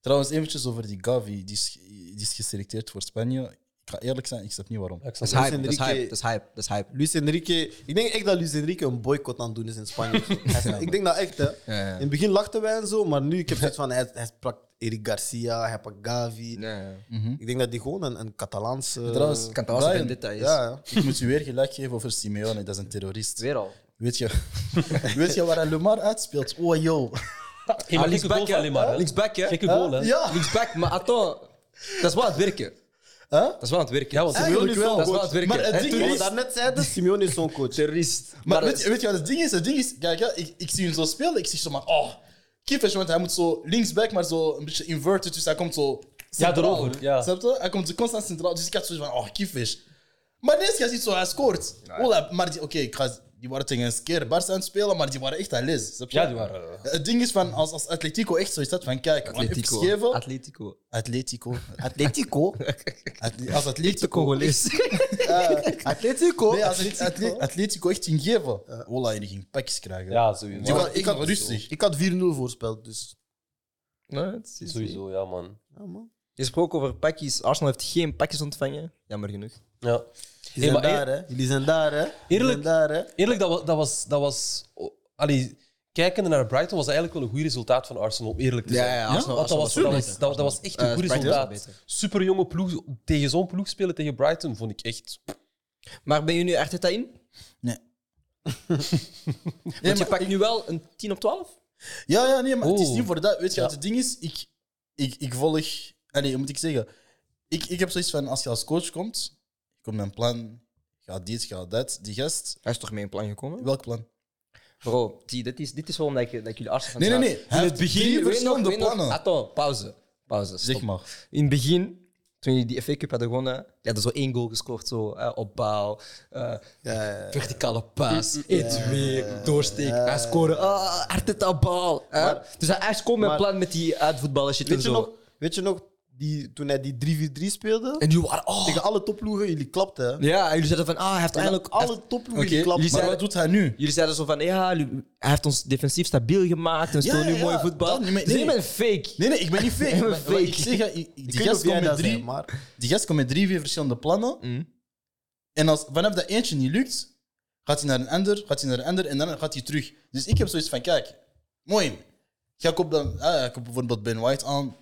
Speaker 4: Trouwens, eventjes over die Gavi. Die is, die is geselecteerd voor Spanje. Ik ga eerlijk zijn, ik snap niet waarom.
Speaker 1: Dat is hype, dat is hype,
Speaker 2: Enrique-
Speaker 1: dat is hype, dat is hype.
Speaker 2: Luis Enrique. Ik denk echt dat Luis Enrique een boycott aan het doen is in Spanje. of zo. Hij snapt- ik denk dat echt, hè.
Speaker 1: ja.
Speaker 2: In het begin lachten wij en zo, maar nu ik heb zoiets van, hij, hij pakt Eric Garcia, hij pakt Gavi. Ik denk dat die gewoon een, een Catalaanse...
Speaker 4: Trouwens,
Speaker 1: kan trouwens
Speaker 4: Brian,
Speaker 1: ook in details.
Speaker 2: ja, ja.
Speaker 4: ik moet u weer gelijk geven over Simeone. Dat is een terrorist.
Speaker 1: Weer al.
Speaker 4: Weet je, weet je waar hij Lemar uitspeelt? Oh, yo.
Speaker 3: Hey, maar linksback, goal van Lemar, hè?
Speaker 1: Linksback, hè?
Speaker 3: Gekke goal, hè?
Speaker 4: Ja.
Speaker 1: Linksback, maar attends. Dat is wel aan het werken. Dat is wel aan het werken.
Speaker 3: Ja, want
Speaker 4: Eigenlijk
Speaker 1: Eigenlijk
Speaker 4: wel.
Speaker 1: Dat is wel aan het werken.
Speaker 4: Maar het
Speaker 1: Hè,
Speaker 4: ding
Speaker 2: Wat
Speaker 1: toerist.
Speaker 2: we daarnet zeiden, Simeone is zo'n coach.
Speaker 1: Terrorist.
Speaker 4: Maar weet, je- weet je wat het ding is? Het ding is, kijk, ja, ik, ik zie hem zo spelen. Ik zie zo maar, oh, kiffers, want hij moet zo linksback, maar zo een beetje inverted. Dus hij komt zo centraal.
Speaker 3: erover, ja.
Speaker 4: Snap je? Hij komt zo constant centraal. Dus ik had zoiets van, oh, kiffers. Maar ineens, je ziet zo, hij scoort. Ola, maar die, oké, ik ga- die waren tegen een keer Barça aan het spelen, maar die waren echt aan les. Snap je?
Speaker 3: Ja, die waren... eh,
Speaker 4: Het ding is van, als, als Atletico echt zoiets had van, kijk, Atletico.
Speaker 1: Atletico. Atletico.
Speaker 4: Atletico. Atletico? Atle- als
Speaker 1: Echte
Speaker 4: Atletico.
Speaker 1: Congolees.
Speaker 2: Atletico?
Speaker 4: Nee, als Atle- Atle- Atletico echt ging geven. Ola, jullie ging pakjes krijgen.
Speaker 3: Ja, sowieso.
Speaker 4: Die
Speaker 2: Ja,
Speaker 4: waren
Speaker 2: ik
Speaker 4: echt
Speaker 2: had-
Speaker 4: rustig.
Speaker 2: Ik had 4-0 voorspeld, dus...
Speaker 1: Nee, het is-
Speaker 3: Sowieso, ja, man.
Speaker 2: Ja, man.
Speaker 1: Je sprak over pakjes. Arsenal heeft geen pakjes ontvangen. Jammer genoeg.
Speaker 3: Ja.
Speaker 2: Die zijn
Speaker 3: Hey, maar
Speaker 2: daar, hè. Jullie zijn daar, hè. Jullie
Speaker 3: Eerlijk-
Speaker 2: zijn daar, hè.
Speaker 3: Eerlijk, dat was. Dat was, dat was oh, allee, kijkende naar Brighton was dat eigenlijk wel een goed resultaat van Arsenal, om eerlijk te zijn.
Speaker 1: Arsenal-
Speaker 3: Want
Speaker 1: Arsenal
Speaker 3: dat was, dat, was,
Speaker 1: beter.
Speaker 3: dat, was- dat was echt een
Speaker 1: Eh,
Speaker 3: goed
Speaker 1: Brighton was
Speaker 3: resultaat.
Speaker 1: beter.
Speaker 3: Super jonge ploeg. Tegen zo'n ploeg spelen tegen Brighton vond ik echt.
Speaker 1: Maar ben je nu Arteta in?
Speaker 4: Nee.
Speaker 1: Want je pakt nu wel een 10 op 12?
Speaker 4: Ja, ja, nee, maar het is
Speaker 3: Oh.
Speaker 4: niet voor dat. Weet je wat het ding is? Ik, ik, ik volg... Allee, hoe moet ik zeggen? Ik, ik heb zoiets van, als je als coach komt, je komt met een plan, ga dit, ga dat. Die gast,
Speaker 1: Hij is toch mee in plan gekomen?
Speaker 4: welk plan?
Speaker 1: Bro, zie, dit is, dit is waarom dat ik, dat ik jullie Arsenal
Speaker 4: Nee, nee, nee.
Speaker 1: draag.
Speaker 4: Hij heeft drie
Speaker 1: weet nog-
Speaker 4: verschillende
Speaker 1: weet nog-
Speaker 4: plannen.
Speaker 1: Attends, pauze. Pauze.
Speaker 4: Zeg
Speaker 1: stop.
Speaker 4: maar.
Speaker 1: In het begin, toen jullie die FA Cup hadden gewonnen, je hadden zo één goal gescoord. Zo, hè, opbouw, eh, verticale paas, 1-2, doorsteek, hij scoren. Ah, Arteta bal. hè. dus hij is komt met
Speaker 2: maar-
Speaker 1: plan met die uitvoetballen shit en
Speaker 2: Weet je
Speaker 1: zo.
Speaker 2: nog, weet je nog die, toen hij die 3-4-3 speelde?
Speaker 1: En jullie waren... Oh,
Speaker 2: Tegen alle topploegen, jullie klapten, hè.
Speaker 1: ja, en jullie zeiden van, ah, hij heeft
Speaker 2: Eigenlijk
Speaker 1: eindelijk... hij heeft-
Speaker 2: alle topploegen
Speaker 1: Oké,
Speaker 2: die klapten.
Speaker 1: jullie
Speaker 4: Maar
Speaker 1: zeiden-
Speaker 4: wat doet hij nu?
Speaker 1: Jullie zeiden zo van, ja, jullie- hij heeft ons defensief stabiel gemaakt en we
Speaker 4: Ja,
Speaker 1: spelen nu
Speaker 4: ja,
Speaker 1: mooi
Speaker 4: ja,
Speaker 1: voetbal.
Speaker 4: dat niet meer-
Speaker 1: Dus
Speaker 4: nee.
Speaker 1: je bent fake.
Speaker 4: Nee, nee, ik ben niet fake. maar- maar
Speaker 1: fake.
Speaker 4: Ik zeg, ja, ik-
Speaker 2: Ik
Speaker 4: die
Speaker 2: weet niet of
Speaker 4: gast
Speaker 2: jij
Speaker 4: komt
Speaker 2: dat
Speaker 4: met
Speaker 2: drie,
Speaker 4: drie...
Speaker 2: maar...
Speaker 4: Die gast komt met drie, vier verschillende plannen. En als vanaf dat eentje niet lukt, gaat hij naar een ander, gaat hij naar een ander en dan gaat hij terug. Dus ik heb zoiets van: kijk, mooi. Ga ik op, dan, ah, ik heb bijvoorbeeld Ben White aan.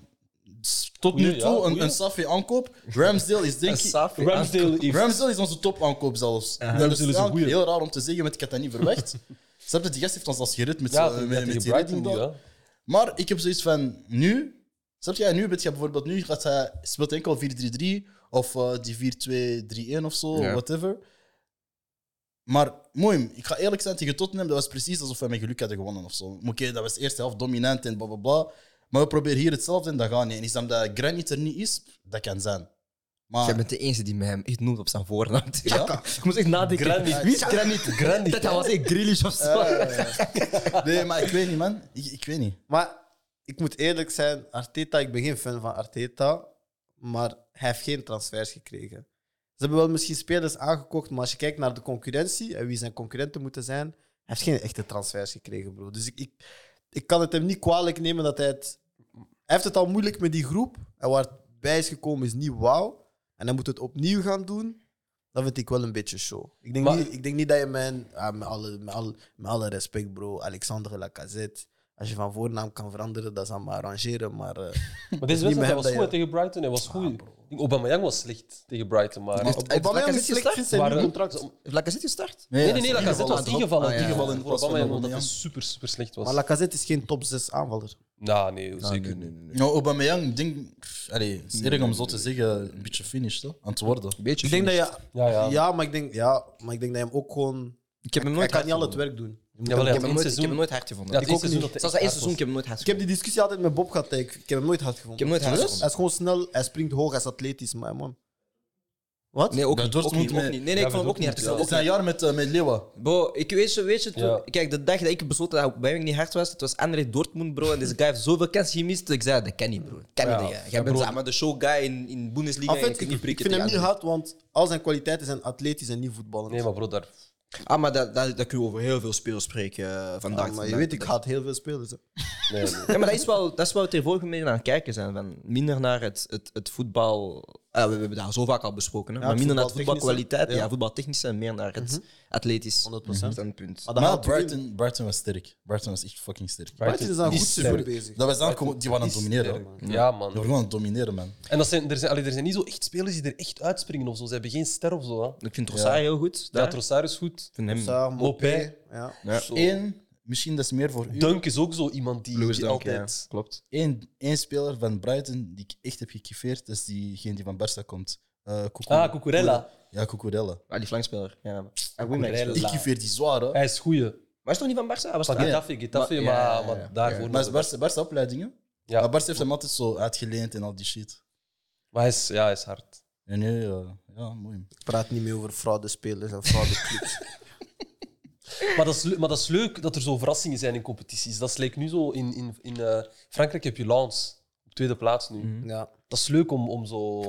Speaker 4: S- Tot nu
Speaker 3: Goeie, ja,
Speaker 4: toe een,
Speaker 3: goeie.
Speaker 4: een Safi aankoop. Ramsdale is denk ik.
Speaker 1: Safi.
Speaker 3: Ramsdale heeft.
Speaker 4: Ramsdale is onze top aankoop zelfs.
Speaker 3: Ramsdale
Speaker 4: Dat
Speaker 3: is
Speaker 4: is
Speaker 3: een
Speaker 4: eigenlijk
Speaker 3: goeie.
Speaker 4: heel raar om te zeggen, want ik had dat niet verwacht. Snap je, die gast heeft ons als gered met,
Speaker 3: Ja,
Speaker 4: zo-
Speaker 3: tegen-
Speaker 4: met,
Speaker 3: tegen
Speaker 4: met die
Speaker 3: Brighton
Speaker 4: redding
Speaker 3: nu,
Speaker 4: daar.
Speaker 3: hè.
Speaker 4: Maar ik heb zoiets van nu. Snap je, nu, ben je bijvoorbeeld nu gaat hij, speelt enkel 4-3-3 of eh, die 4-2-3-1 of zo,
Speaker 1: Ja.
Speaker 4: whatever. Maar mooi, ik ga eerlijk zijn tegen Tottenham, dat was precies alsof we met geluk hadden gewonnen of zo. Oké, dat was de eerste helft dominant en bla bla bla. Maar we proberen hier hetzelfde en dat gaat niet. En is dat omdat Granit er niet is, dat kan zijn. Maar
Speaker 1: Jij bent de enige die mij hem echt noemt op zijn voornaam.
Speaker 4: Ja.
Speaker 1: ik moest echt nadenken.
Speaker 3: Granit.
Speaker 1: Wie is Granit?
Speaker 3: Granit,
Speaker 1: Dat hij was echt Grealish of zo.
Speaker 4: nee, maar ik weet niet, man. Ik, ik weet niet.
Speaker 2: Maar ik moet eerlijk zijn, Arteta, ik ben geen fan van Arteta, maar hij heeft geen transfers gekregen. Ze hebben wel misschien spelers aangekocht, maar als je kijkt naar de concurrentie en wie zijn concurrenten moeten zijn, hij heeft geen echte transfers gekregen, bro. Dus ik, ik, ik kan het hem niet kwalijk nemen dat hij het... Hij heeft het al moeilijk met die groep en waar het bij is gekomen is niet wauw. En hij moet het opnieuw gaan doen. Dat vind ik wel een beetje show. Ik denk,
Speaker 3: Maar-
Speaker 2: niet, ik denk niet dat je mijn... ah, met, alle, met, alle, met alle respect, bro. Alexandre Lacazette. Als je van voornaam kan veranderen, dat is aan me arrangeren. Maar eh,
Speaker 3: Maar deze
Speaker 2: Niet met
Speaker 3: wedstrijd
Speaker 2: hem
Speaker 3: hij was
Speaker 2: dat je-
Speaker 3: goed hè, tegen Brighton. Hij was goed. Obama was slecht tegen Brighton, maar.
Speaker 1: Ah, Heeft- heeft
Speaker 2: Aubameyang
Speaker 1: Lacazette
Speaker 2: is slecht
Speaker 1: gestart?
Speaker 2: sinds zijn
Speaker 3: Waarom?
Speaker 2: nieuw contract.
Speaker 1: Lacazette gestart?
Speaker 3: Nee, nee, nee, Lacazette was ingevallen.
Speaker 1: Ah, ja.
Speaker 3: Ingevallen voor
Speaker 4: Was van
Speaker 3: Aubameyang omdat hij
Speaker 4: Aubameyang.
Speaker 3: super, super slecht was.
Speaker 2: Maar Lacazette is geen top 6 aanvaller.
Speaker 3: Nou, nee,
Speaker 1: Ah,
Speaker 3: zeker niet.
Speaker 4: Nou, Aubameyang, ik denk... pff, Allee, het is erg om zo te zeggen, een beetje finished, hè, aan het worden.
Speaker 1: Beetje
Speaker 2: Ik denk dat
Speaker 1: finished.
Speaker 2: je,
Speaker 3: Ja, ja.
Speaker 2: ja. maar ik denk, ja, maar ik denk dat je hem ook gewoon.
Speaker 1: Ik heb hem
Speaker 2: Hij
Speaker 1: nooit
Speaker 2: kan niet
Speaker 1: hard
Speaker 2: al het
Speaker 1: gevonden.
Speaker 2: werk doen. Je moet
Speaker 3: Jawel,
Speaker 2: hem-
Speaker 3: ja.
Speaker 1: Ik heb hem nooit-
Speaker 3: seizoen-
Speaker 1: ik heb hem nooit hard gevonden.
Speaker 3: Ja,
Speaker 1: ik
Speaker 3: het
Speaker 1: ook
Speaker 3: eerste seizoen
Speaker 1: niet.
Speaker 3: dat hij
Speaker 1: Zelfs dat
Speaker 3: echt
Speaker 1: eerste seizoen,
Speaker 3: hard
Speaker 1: ik heb hem nooit hard
Speaker 2: ik heb die
Speaker 1: gevonden.
Speaker 2: discussie altijd met Bob gehad. Ik, ik heb hem nooit hard
Speaker 1: Ik
Speaker 2: gevonden.
Speaker 1: heb hem nooit hard
Speaker 2: Hij
Speaker 1: gevonden.
Speaker 2: is gewoon snel, hij springt hoog, hij is atletisch, maar man. Wat?
Speaker 1: Nee, ook,
Speaker 4: Ja,
Speaker 1: niet, ook,
Speaker 4: Dortmund
Speaker 1: niet, ook
Speaker 4: met-
Speaker 1: niet. Nee, nee,
Speaker 3: Ja,
Speaker 1: ik vond hem ook niet hard.
Speaker 4: Het is ook een jaar met, eh, met Leeuwen.
Speaker 1: Bro, ik weet zo, weet je, toen-
Speaker 3: Ja.
Speaker 1: kijk, de dag dat ik besloot dat Aubameyang niet hard was, het was André Dortmund, bro, en deze guy heeft zoveel kansen gemist. Ik zei, dat kan niet, bro. Dat kan
Speaker 3: Ja.
Speaker 1: niet, ja. Jij bent
Speaker 3: bro.
Speaker 1: zeg maar de showguy in, in Bundesliga
Speaker 2: Enfin,
Speaker 1: en je
Speaker 2: ik,
Speaker 1: kunt niet
Speaker 2: ik
Speaker 1: prikken
Speaker 2: vind hem niet
Speaker 1: tegen
Speaker 2: hard, want al zijn kwaliteiten zijn atletisch en niet voetballen.
Speaker 3: Nee, maar bro, daar...
Speaker 1: anderen. Ah, maar dat, dat, dat kun je over heel veel spelers spreken eh, vandaag.
Speaker 2: maar je
Speaker 1: vandaag.
Speaker 2: weet, ik haat heel veel spelers. hè.
Speaker 3: Nee, nee.
Speaker 1: Ja, maar dat is wel, dat is wel tegenwoordig meer aan het kijken zijn. Van minder naar het, het, het voetbal. eh, we hebben daar zo vaak al besproken. Hè?
Speaker 2: Ja,
Speaker 1: maar
Speaker 2: het
Speaker 1: minder naar het
Speaker 2: voetbaltechnische,
Speaker 1: voetbalkwaliteit. Ja,
Speaker 2: ja.
Speaker 1: voetbaltechnische en meer naar het atletisch
Speaker 2: 100%.
Speaker 1: standpunt.
Speaker 2: Maar, dat
Speaker 4: Maar
Speaker 2: haalt Wim.
Speaker 4: Brighton, Brighton was sterk. Brighton was echt fucking sterk.
Speaker 2: Brighton is aan
Speaker 3: Is
Speaker 2: goed seizoen
Speaker 3: sterk.
Speaker 2: bezig.
Speaker 4: Dat was dan gewoon, die waren aan het domineren. Die
Speaker 3: Ja, man.
Speaker 4: waren gewoon aan het domineren, man.
Speaker 3: En dat zijn, er, zijn, allee, er zijn niet zo echt spelers die er echt uitspringen of zo. Ze hebben geen ster of zo. Hè.
Speaker 1: Ik vind Rosario heel goed.
Speaker 3: Ja,
Speaker 1: daar.
Speaker 3: Trossard is goed.
Speaker 1: Ik vind hem.
Speaker 2: Sa, Mopé.
Speaker 3: Mopé.
Speaker 2: Ja.
Speaker 3: Zo.
Speaker 4: Eén, misschien dat is meer voor u.
Speaker 3: Dunk is ook zo iemand die,
Speaker 1: Louis
Speaker 3: die
Speaker 1: Dunk, ja.
Speaker 3: altijd...
Speaker 1: Klopt.
Speaker 4: Eén, één speler van Brighton die ik echt heb gekiffeerd, dat is diegene die van Barca komt. Eh, Cucu-
Speaker 3: Ah, Cucurella.
Speaker 4: Ja, Cucurella.
Speaker 1: Ah, die flankspeler. Ja. Ah,
Speaker 3: Cucurella.
Speaker 1: wingback.
Speaker 4: Ik kiffeer die zwaar, hè.
Speaker 3: Hij is goeie.
Speaker 1: Maar is toch niet van Barça? Hij Was
Speaker 3: Van
Speaker 1: daar?
Speaker 3: Getafe, Getafe,
Speaker 1: Maar-
Speaker 3: maar,
Speaker 1: ja, ja, ja.
Speaker 3: maar daarvoor...
Speaker 4: Maar
Speaker 3: nog-
Speaker 4: het is Barca, Barca opleidingen.
Speaker 3: Ja.
Speaker 4: Maar Barca heeft hem altijd zo uitgeleend en al die shit.
Speaker 3: maar hij is, ja, hij is hard.
Speaker 4: En nu, ja, ja, mooi.
Speaker 2: Ik praat niet meer over fraudespelers en fraudeclubs.
Speaker 3: Maar dat, is, le- maar dat is leuk dat er zo verrassingen zijn in competities. Dat lijkt nu zo in, in, in eh, Frankrijk heb je Lens op tweede plaats nu.
Speaker 1: Mhm.
Speaker 2: ja.
Speaker 3: Dat is leuk om, om zo.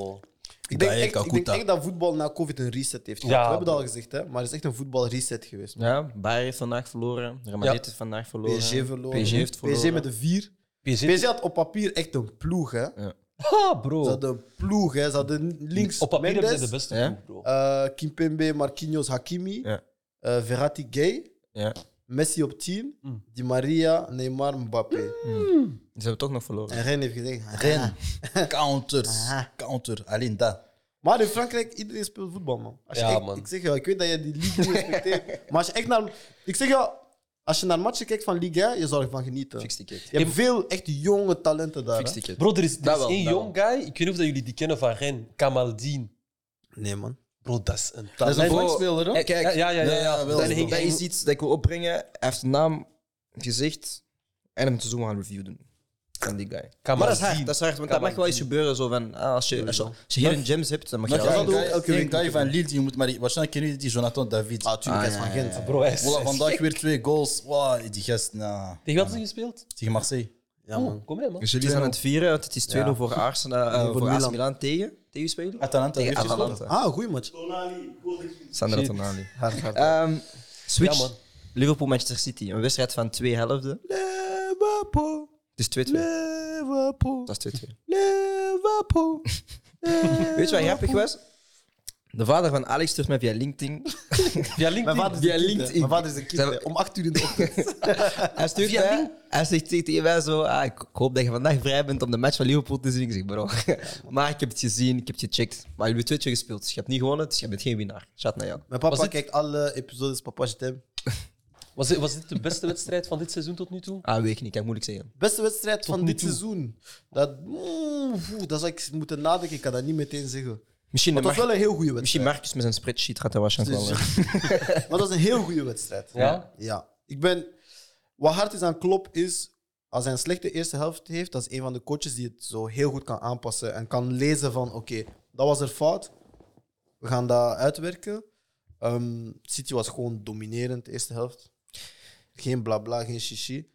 Speaker 2: Ik denk,
Speaker 4: Daeer
Speaker 2: echt, ik denk
Speaker 4: Kakuta.
Speaker 2: echt dat voetbal na COVID een reset heeft gehad.
Speaker 3: Ja,
Speaker 2: We hebben dat al
Speaker 3: bro.
Speaker 2: gezegd, hè? maar het is echt een voetbalreset geweest.
Speaker 1: Ja, Bayern heeft vandaag verloren. Real Madrid
Speaker 3: Ja.
Speaker 1: heeft vandaag verloren.
Speaker 2: PSG verloren.
Speaker 1: PSG heeft verloren.
Speaker 2: PSG met de vier.
Speaker 3: PSG.
Speaker 2: PSG had op papier echt een ploeg, hè?
Speaker 3: Ah,
Speaker 2: Ze
Speaker 3: bro.
Speaker 2: hadden een ploeg, hè? Ze hadden links
Speaker 3: Op papier hebben
Speaker 2: Mendes,
Speaker 3: ze de beste
Speaker 1: Ja?
Speaker 3: ploeg, bro.
Speaker 2: eh, Kimpembe, Marquinhos, Hakimi,
Speaker 1: Ja.
Speaker 2: eh, Verratti, Gay,
Speaker 1: Ja.
Speaker 2: Messi op 10,
Speaker 3: Mm.
Speaker 2: Di Maria, Neymar, Mbappé.
Speaker 1: Ze hebben toch nog verloren.
Speaker 2: En Ren heeft gezegd.
Speaker 4: Ren.
Speaker 2: "Ah."
Speaker 4: Counters.
Speaker 2: Aha.
Speaker 4: Counter. Alleen dat.
Speaker 2: Maar in Frankrijk, iedereen speelt voetbal, man. Als je
Speaker 3: Ja,
Speaker 2: echt-
Speaker 3: man.
Speaker 2: Ik zeg je, ik weet dat je die league niet respecteert. maar als je echt naar... Ik zeg je, als je naar matchen kijkt van Ligue 1, je zal ervan genieten.
Speaker 1: Fix ticket.
Speaker 2: Je hebt veel echt jonge talenten daar.
Speaker 1: Fix
Speaker 2: hè.
Speaker 1: ticket.
Speaker 3: Bro, er is, er
Speaker 1: Dat
Speaker 3: is
Speaker 1: wel,
Speaker 3: één
Speaker 1: dat
Speaker 3: jong guy. Ik weet niet of dat jullie die kennen van Ren. Kamaldeen.
Speaker 2: Nee, man.
Speaker 3: Bro, dat is een
Speaker 4: Dat is een
Speaker 3: talent.
Speaker 4: flankspeler, hè?
Speaker 1: Eh, Kijk,
Speaker 3: Ja, ja, ja. ja,
Speaker 4: Ja, ja, wel.
Speaker 1: Dat,
Speaker 4: België.
Speaker 1: dat is iets dat ik wil opbrengen. Hij heeft de naam, het gezicht en hem te zoomen gaan review doen. Van die guy. Maar dat is hard, dat is hard want dat mag wel eens gebeuren. Zo van, ah, als, je, als, je, als je hier een gems hebt, dan mag je
Speaker 4: Maar
Speaker 1: dat
Speaker 4: je
Speaker 1: wel
Speaker 4: had
Speaker 1: doen.
Speaker 2: ook elke
Speaker 4: ook een
Speaker 2: week
Speaker 4: guy van Lille, die moet maar... Waarschijnlijk kennen jullie die Jonathan David.
Speaker 2: Ah, tuurlijk,
Speaker 1: Ah,
Speaker 2: hij is
Speaker 1: ja,
Speaker 2: van Gent.
Speaker 3: Bro, hij is.
Speaker 4: Voilà, vandaag weer twee goals. Wow, die gast, nah.
Speaker 3: Tegen wat is hij gespeeld?
Speaker 4: Tegen Marseille.
Speaker 2: Ja,
Speaker 3: Oh, kom mee, man.
Speaker 1: Dus jullie zijn aan het vieren, want het is 2-0 voor Arsenal, eh,
Speaker 2: Nee, voor
Speaker 1: voor AC
Speaker 2: Milan.
Speaker 1: Milan tegen. Tegen spelen?
Speaker 4: Atalanta.
Speaker 1: Tegen
Speaker 4: heeft gescoord.
Speaker 1: Atalanta.
Speaker 2: Ah, goeie match.
Speaker 1: Sandra Tonali.
Speaker 2: Hard, hard.
Speaker 1: Ehm,
Speaker 3: Ja,
Speaker 1: switch.
Speaker 3: man.
Speaker 1: Liverpool-Manchester City. Een wedstrijd van twee helften.
Speaker 2: Liverpool,
Speaker 1: Het is 2-2.
Speaker 2: Liverpool,
Speaker 1: Dat is 2-2.
Speaker 2: Liverpool.
Speaker 1: Weet je wat grappig was? De vader van Alex stuurt mij via LinkedIn.
Speaker 3: Via
Speaker 2: Mijn
Speaker 3: LinkedIn.
Speaker 2: vader is
Speaker 1: Via
Speaker 2: een kind, hè.
Speaker 1: LinkedIn.
Speaker 2: Mijn vader is een kind.
Speaker 1: Zijn we-
Speaker 2: hè. Om 8 uur in de ochtend.
Speaker 1: Hij stuurt
Speaker 3: Via
Speaker 1: mij,
Speaker 3: link?
Speaker 1: hij zegt zegt tegen mij zo, ah, ik ik hoop dat je vandaag vrij bent om de match van Liverpool te zien. Ik zeg, bro, maar ik heb het gezien, ik heb het gecheckt. Maar jullie hebben 2-2 gespeeld, dus je hebt niet gewonnen, dus je bent geen winnaar. Shout naar jou.
Speaker 2: Mijn
Speaker 3: Was
Speaker 2: papa
Speaker 3: dit-
Speaker 2: kijkt alle episodes Papa Stem.
Speaker 3: Was, dit- was dit de beste wedstrijd van dit seizoen tot nu toe?
Speaker 1: Ah, weet ik niet, kan ik moeilijk zeggen.
Speaker 2: Beste wedstrijd van
Speaker 3: nu
Speaker 2: dit
Speaker 3: toe.
Speaker 2: seizoen. Dat, mm, oeh, dat zou ik moeten nadenken. Ik kan dat niet meteen zeggen.
Speaker 1: Misschien,
Speaker 2: Maar het
Speaker 1: de
Speaker 2: was
Speaker 1: Mar-
Speaker 2: wel een heel goede
Speaker 1: misschien Marcus
Speaker 2: wedstrijd.
Speaker 1: met zijn spreadsheet gaat dat waarschijnlijk wel. eh.
Speaker 2: Maar dat was een heel goede wedstrijd.
Speaker 3: Ja?
Speaker 2: Ja. Ik ben... Wat hard is aan Klopp is... Als hij een slechte eerste helft heeft, dat is een van de coaches die het zo heel goed kan aanpassen. En kan lezen van, oké, dat was er fout. We gaan dat uitwerken. Ehm, City was gewoon dominerend de eerste helft. Geen blabla, geen shishi.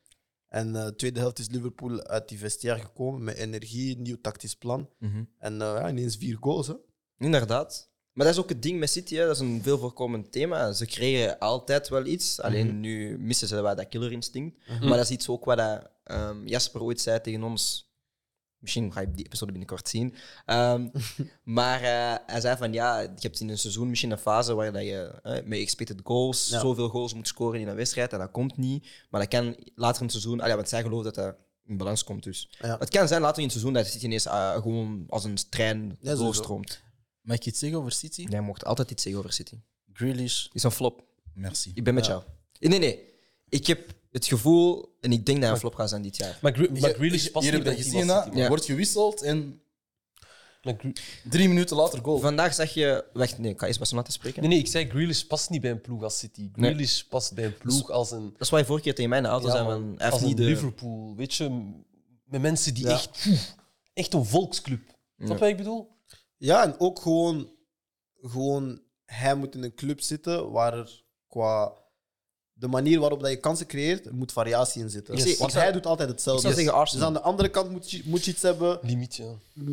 Speaker 2: En eh, de tweede helft is Liverpool uit die vestiaire gekomen met energie, nieuw tactisch plan.
Speaker 1: Mhm.
Speaker 2: En eh, ja, ineens vier goals. Hè.
Speaker 1: Inderdaad. Maar dat is ook het ding met City, hè. dat is een veel voorkomend thema. Ze creëren altijd wel iets, alleen
Speaker 2: Mhm.
Speaker 1: nu missen ze wel dat killer instinct. Maar dat is iets ook wat dat, ehm, Jasper ooit zei tegen ons. Misschien ga je die episode binnenkort zien. Ehm, maar eh, hij zei van ja, je hebt in een seizoen misschien een fase waar dat je eh, met expected goals
Speaker 2: Ja.
Speaker 1: zoveel goals moet scoren in een wedstrijd en dat komt niet. Maar dat kan later in het seizoen, ah, ja, want zij geloven dat dat in balans komt dus.
Speaker 2: Ja.
Speaker 1: Het kan zijn later in het seizoen dat City ineens eh, gewoon als een trein
Speaker 2: Ja, sowieso.
Speaker 1: doorstroomt.
Speaker 4: Mag ik iets zeggen over City?
Speaker 1: Jij mocht altijd iets zeggen over City.
Speaker 4: Grealish,
Speaker 1: Is een flop.
Speaker 4: merci.
Speaker 1: Ik ben met jou. Eh, Nee, nee. Ik heb het gevoel en ik denk dat hij een flop gaat zijn dit jaar.
Speaker 3: Maar, Gre- maar
Speaker 4: Je-
Speaker 3: Grealish past
Speaker 4: Hier
Speaker 3: niet bij het
Speaker 4: heb je dat gezien,
Speaker 3: team als
Speaker 4: hè?
Speaker 3: City, man.
Speaker 4: wordt gewisseld en
Speaker 3: Maar Gre-
Speaker 4: drie minuten later goal.
Speaker 1: Vandaag zag je. Wacht, nee, ik ga eerst pas laten spreken.
Speaker 3: Oh. Nee, nee, ik zei Grealish past niet bij een ploeg als City. Grealish past bij een ploeg als een,
Speaker 1: Dat is wat je vorige keer tegen mij in de auto
Speaker 3: ja,
Speaker 1: zei.
Speaker 3: man,
Speaker 1: van, Hij
Speaker 3: als
Speaker 1: heeft
Speaker 3: een
Speaker 1: niet de.
Speaker 3: Liverpool. Weet je, m- met mensen die
Speaker 2: Ja.
Speaker 3: echt, echt een volksclub. Snap je wat ik bedoel?
Speaker 2: Ja, en ook gewoon gewoon hij moet in een club zitten waar er qua de manier waarop dat je kansen creëert, er moet variatie in zitten.
Speaker 1: Ik zie-
Speaker 2: Want
Speaker 1: ik zou-
Speaker 2: hij doet altijd hetzelfde.
Speaker 1: ik zou zeggen
Speaker 2: Dus
Speaker 1: Arsenal.
Speaker 2: aan de andere kant moet je, moet je iets hebben,
Speaker 3: Limiet, ja.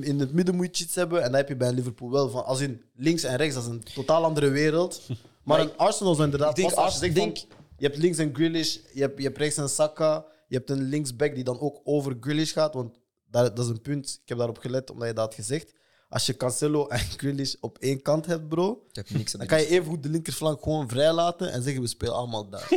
Speaker 2: in het midden moet je iets hebben, en dat heb je bij Liverpool wel. Van, als in links en rechts, dat is een totaal andere wereld. Maar in Arsenal is inderdaad
Speaker 1: ik denk
Speaker 2: pas als je
Speaker 1: Ars-
Speaker 2: zegt van,
Speaker 1: denk-
Speaker 2: je hebt links een Grealish, je hebt, je hebt rechts een Saka, je hebt een linksback die dan ook over Grealish gaat, want daar, dat is een punt, ik heb daarop gelet omdat je dat had gezegd. Als je Cancelo en Grealish op één kant hebt, bro,
Speaker 1: Ik heb niks aan
Speaker 2: dan
Speaker 1: die
Speaker 2: kan je even goed de linkerflank gewoon vrij laten en zeggen we spelen allemaal daar.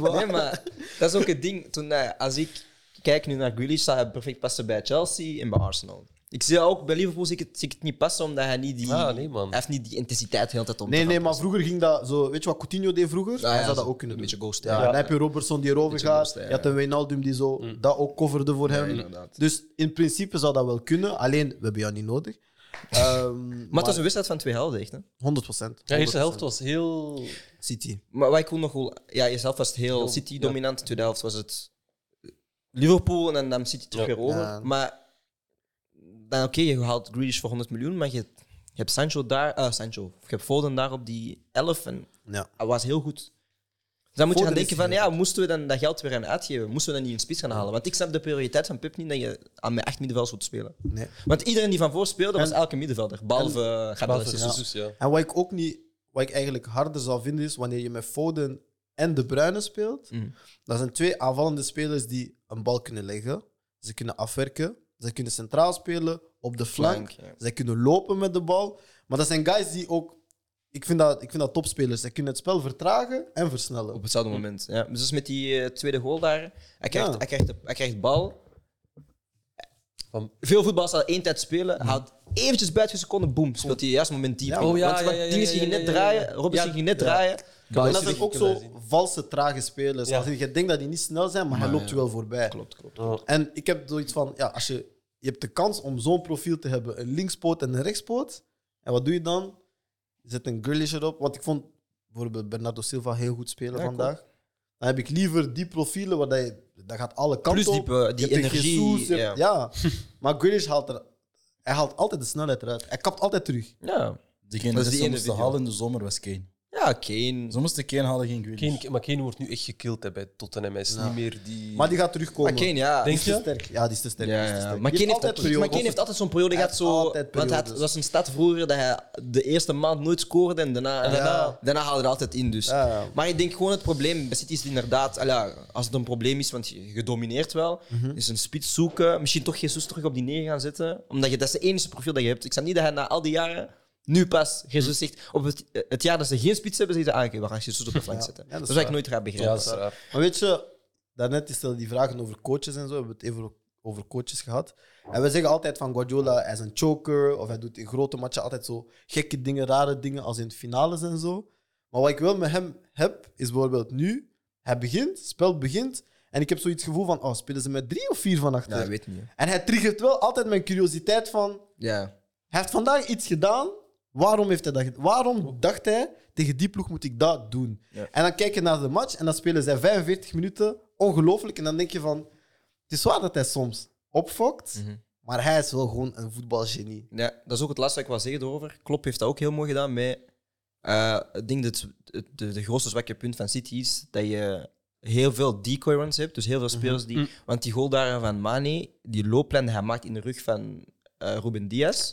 Speaker 1: Nee, maar dat is ook het ding. Toen, eh, als ik kijk nu naar Grealish, zou hij perfect passen bij Chelsea en bij Arsenal. Ik zie dat ook bij Liverpool zie ik het, zie ik het niet passen, omdat hij niet die,
Speaker 3: Ah, nee, man.
Speaker 1: Hij heeft niet die intensiteit de hele tijd om
Speaker 2: Nee,
Speaker 1: te
Speaker 2: nee,
Speaker 1: gaan
Speaker 2: maar vroeger ging dat zo. Weet je wat Coutinho deed vroeger?
Speaker 1: Ah, Ja,
Speaker 2: hij
Speaker 1: ja,
Speaker 2: zou dat
Speaker 1: zo
Speaker 2: ook kunnen
Speaker 1: een
Speaker 2: doen.
Speaker 1: beetje ghosten,
Speaker 2: Ja,
Speaker 1: ja.
Speaker 2: Dan heb je Robertson die erover
Speaker 1: Beetje
Speaker 2: gaat.
Speaker 1: ghosten, ja, Mm.
Speaker 2: Je had een Wijnaldum die zo dat ook coverde voor hem.
Speaker 1: inderdaad.
Speaker 2: dus in principe zou dat wel kunnen. Alleen, we hebben jou niet nodig. Ehm,
Speaker 1: Maar het was een wedstrijd van twee helden, echt. Hè?
Speaker 2: 100
Speaker 3: De eerste helft was heel...
Speaker 2: City.
Speaker 1: Maar wat ik ook nog wil... Ja, jezelf was het heel City-dominant. De tweede helft was het Liverpool en dan nam City terug weer over.
Speaker 2: Ja.
Speaker 1: Maar dan oké, je haalt Grealish voor 100 miljoen, maar je, je hebt Sancho daar... eh Sancho. Je hebt Foden daar op die 11 en
Speaker 2: Ja.
Speaker 1: hij was heel goed. Dus dan moet je gaan
Speaker 2: Foden is
Speaker 1: denken van,
Speaker 2: heel
Speaker 1: ja, moesten we dan dat geld weer aan uitgeven? Moesten we dan niet een spits gaan halen? Want ik snap de prioriteit van Pep niet dat je aan mijn echt middenveld moet spelen.
Speaker 2: Nee.
Speaker 1: Want iedereen die van voor speelde, was elke middenvelder. Behalve eh, Gabriel
Speaker 3: Behalve
Speaker 1: Jesus.
Speaker 3: Jesus, ja.
Speaker 2: En wat ik ook niet, wat ik eigenlijk harder zou vinden is wanneer je met Foden en De Bruyne speelt.
Speaker 1: Mm.
Speaker 2: Dat zijn twee aanvallende spelers die een bal kunnen leggen. Ze kunnen afwerken. Ze kunnen centraal spelen op de flank.
Speaker 1: Flank, ja.
Speaker 2: Zij kunnen lopen met de bal. Maar dat zijn guys die ook. Ik vind dat, ik vind dat topspelers. Zij kunnen het spel vertragen en versnellen.
Speaker 1: Op
Speaker 3: Hm.
Speaker 1: hetzelfde moment. Ja. Dus met die eh, tweede goal daar, hij krijgt,
Speaker 2: Ja.
Speaker 1: hij krijgt, de- hij krijgt bal.
Speaker 3: Van-
Speaker 1: Veel voetballers zal één tijd spelen, houdt eventjes buiten een seconde, boem, speelt hij juist moment diep.
Speaker 2: Ja,
Speaker 1: in.
Speaker 3: oh ja,
Speaker 1: want
Speaker 3: ja,
Speaker 1: want
Speaker 3: ja,
Speaker 1: dingen
Speaker 3: ja,
Speaker 1: ging je
Speaker 3: ja,
Speaker 1: net
Speaker 3: ja,
Speaker 1: draaien,
Speaker 3: ja.
Speaker 1: Robinson
Speaker 3: Ja.
Speaker 1: ging je net draaien.
Speaker 2: En dat zijn ook zo
Speaker 3: Zien.
Speaker 2: valse, trage spelers.
Speaker 3: Ja.
Speaker 2: Als in, je denkt dat die niet snel zijn, maar hij loopt je wel voorbij.
Speaker 1: Klopt, klopt.
Speaker 2: En ik heb zoiets van: ja, als je, je hebt de kans om zo'n profiel te hebben, een linkspoot en een rechtspoot. En wat doe je dan? Je zet een girlish erop. Want ik vond bijvoorbeeld Bernardo Silva heel goed spelen
Speaker 1: Ja,
Speaker 2: vandaag. Dan heb ik liever die profielen waar dat je. Dat gaat alle kanten
Speaker 1: Plus die,
Speaker 2: op.
Speaker 1: eh, die
Speaker 2: Je hebt een
Speaker 1: energie.
Speaker 2: Jesus, je hebt-
Speaker 1: ja.
Speaker 2: ja. maar Grealish haalt er. Hij haalt altijd de snelheid eruit. Hij kapt altijd terug.
Speaker 1: Ja.
Speaker 4: Degene
Speaker 1: Dat is die
Speaker 4: die ze
Speaker 1: ene
Speaker 4: moesten
Speaker 1: video.
Speaker 4: halen in de zomer was Kane.
Speaker 1: ja, Kane.
Speaker 4: Ze moesten Kane halen, geen Grealish.
Speaker 3: Kane, maar Kane wordt nu echt gekild hè, bij Tottenham. Hij is niet meer die...
Speaker 2: Maar die gaat terugkomen.
Speaker 1: Maar Kane, ja.
Speaker 3: Denk
Speaker 2: Die is te
Speaker 3: je?
Speaker 2: sterk. Ja, die is te sterk.
Speaker 1: Ja,
Speaker 2: die is te
Speaker 1: ja,
Speaker 2: sterk.
Speaker 1: Maar
Speaker 2: Die
Speaker 1: Kane heeft,
Speaker 2: altijd
Speaker 1: altijd, maar Kane heeft altijd zo'n periode
Speaker 2: Hij
Speaker 1: gehad.
Speaker 2: heeft
Speaker 1: Zo,
Speaker 2: altijd
Speaker 1: want het
Speaker 2: periodes.
Speaker 1: was een stad vroeger dat hij de eerste maand nooit scoorde en daarna, en daarna, daarna haalde hij er altijd in. Dus.
Speaker 2: Ja, ja.
Speaker 1: Maar ik denk gewoon het probleem bij City is inderdaad, al ja, als het een probleem is, want je, je domineert wel,
Speaker 2: Mhm.
Speaker 1: is een spits zoeken, misschien toch Jesus terug op die neer gaan zetten. Omdat je, dat is het enige profiel dat je hebt. Ik snap niet dat hij na al die jaren. Nu pas, Jesus
Speaker 2: Mhm.
Speaker 1: zegt, op het, eh, het jaar dat ze geen spits hebben, zeggen ze, ah, oké, we gaan Jesus op de flank
Speaker 2: Ja,
Speaker 1: zetten.
Speaker 2: ja, dat
Speaker 1: dat
Speaker 2: is
Speaker 1: zou ik
Speaker 2: waar.
Speaker 1: nooit raar
Speaker 3: Ja,
Speaker 1: begrijpen.
Speaker 3: dat is raar.
Speaker 2: Maar weet je, daarnet is er die vragen over coaches en zo. We hebben het even over coaches gehad. En we zeggen altijd van Guardiola, hij is een choker. Of hij doet in grote matchen altijd zo gekke dingen, rare dingen als in de finales en zo. Maar wat ik wel met hem heb, is bijvoorbeeld nu. Hij begint, het spel begint. En ik heb zoiets gevoel van, oh, spelen ze met drie of vier van achter?
Speaker 1: Ja, ik weet niet. hè.
Speaker 2: En hij triggert wel altijd mijn curiositeit van...
Speaker 1: Ja.
Speaker 2: Hij heeft vandaag iets gedaan. Waarom, heeft hij dat, ged- waarom dacht hij, tegen die ploeg moet ik dat doen?
Speaker 1: Ja.
Speaker 2: En dan kijk je naar de match en dan spelen zij 45 minuten. Ongelooflijk. En dan denk je van... Het is waar dat hij soms opfokt. Maar hij is wel gewoon een voetbalgenie.
Speaker 1: Ja, dat is ook het laatste wat ik wil zeggen erover. Klopp heeft dat ook heel mooi gedaan met... eh, ik denk dat het, het- de, de grootste zwakke punt van City is dat je heel veel decoy runs hebt. Dus heel veel spelers die... Want die goal daar van Mane, die looplijn die hij maakt in de rug van eh Ruben Diaz...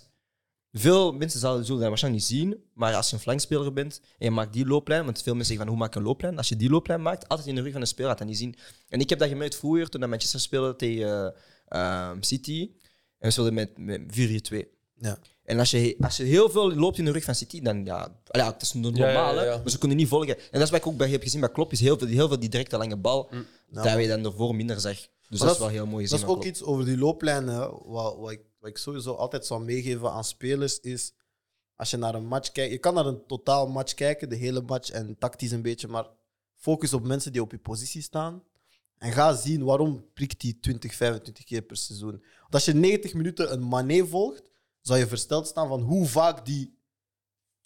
Speaker 1: Veel mensen zullen zullen dat waarschijnlijk niet zien, maar als je een flankspeler bent en je maakt die looplijn, want veel mensen zeggen van hoe maak ik een looplijn? Als je die looplijn maakt, altijd in de rug van de speler gaat dat niet zien. En ik heb dat gemerkt vroeger toen dat Manchester speelde tegen eh, ehm, City en we speelden met, met 4-2.
Speaker 2: Ja.
Speaker 1: En als je, als je heel veel loopt in de rug van City, dan ja, allee, ja het is normaal,
Speaker 3: Ja, ja, ja,
Speaker 1: hè,
Speaker 3: ja.
Speaker 1: maar ze kunnen niet volgen. En dat is wat ik ook bij heb gezien bij Klopp, is heel veel, heel veel die directe lange bal, dat je dan ervoor minder zag. Dus dat,
Speaker 2: dat
Speaker 1: is wel
Speaker 2: is-
Speaker 1: heel mooi gezien
Speaker 2: Dat is
Speaker 1: van
Speaker 2: ook
Speaker 1: Klopp.
Speaker 2: iets over die looplijnen. Wat, wat, ik, wat ik sowieso altijd zou meegeven aan spelers is. Als je naar een match kijkt. Je kan naar een totaal match kijken, de hele match en tactisch een beetje. Maar focus op mensen die op je positie staan. En ga zien waarom prikt die 20, 25 keer per seizoen. Want als je 90 minuten een Mané volgt, zou je versteld staan van hoe vaak die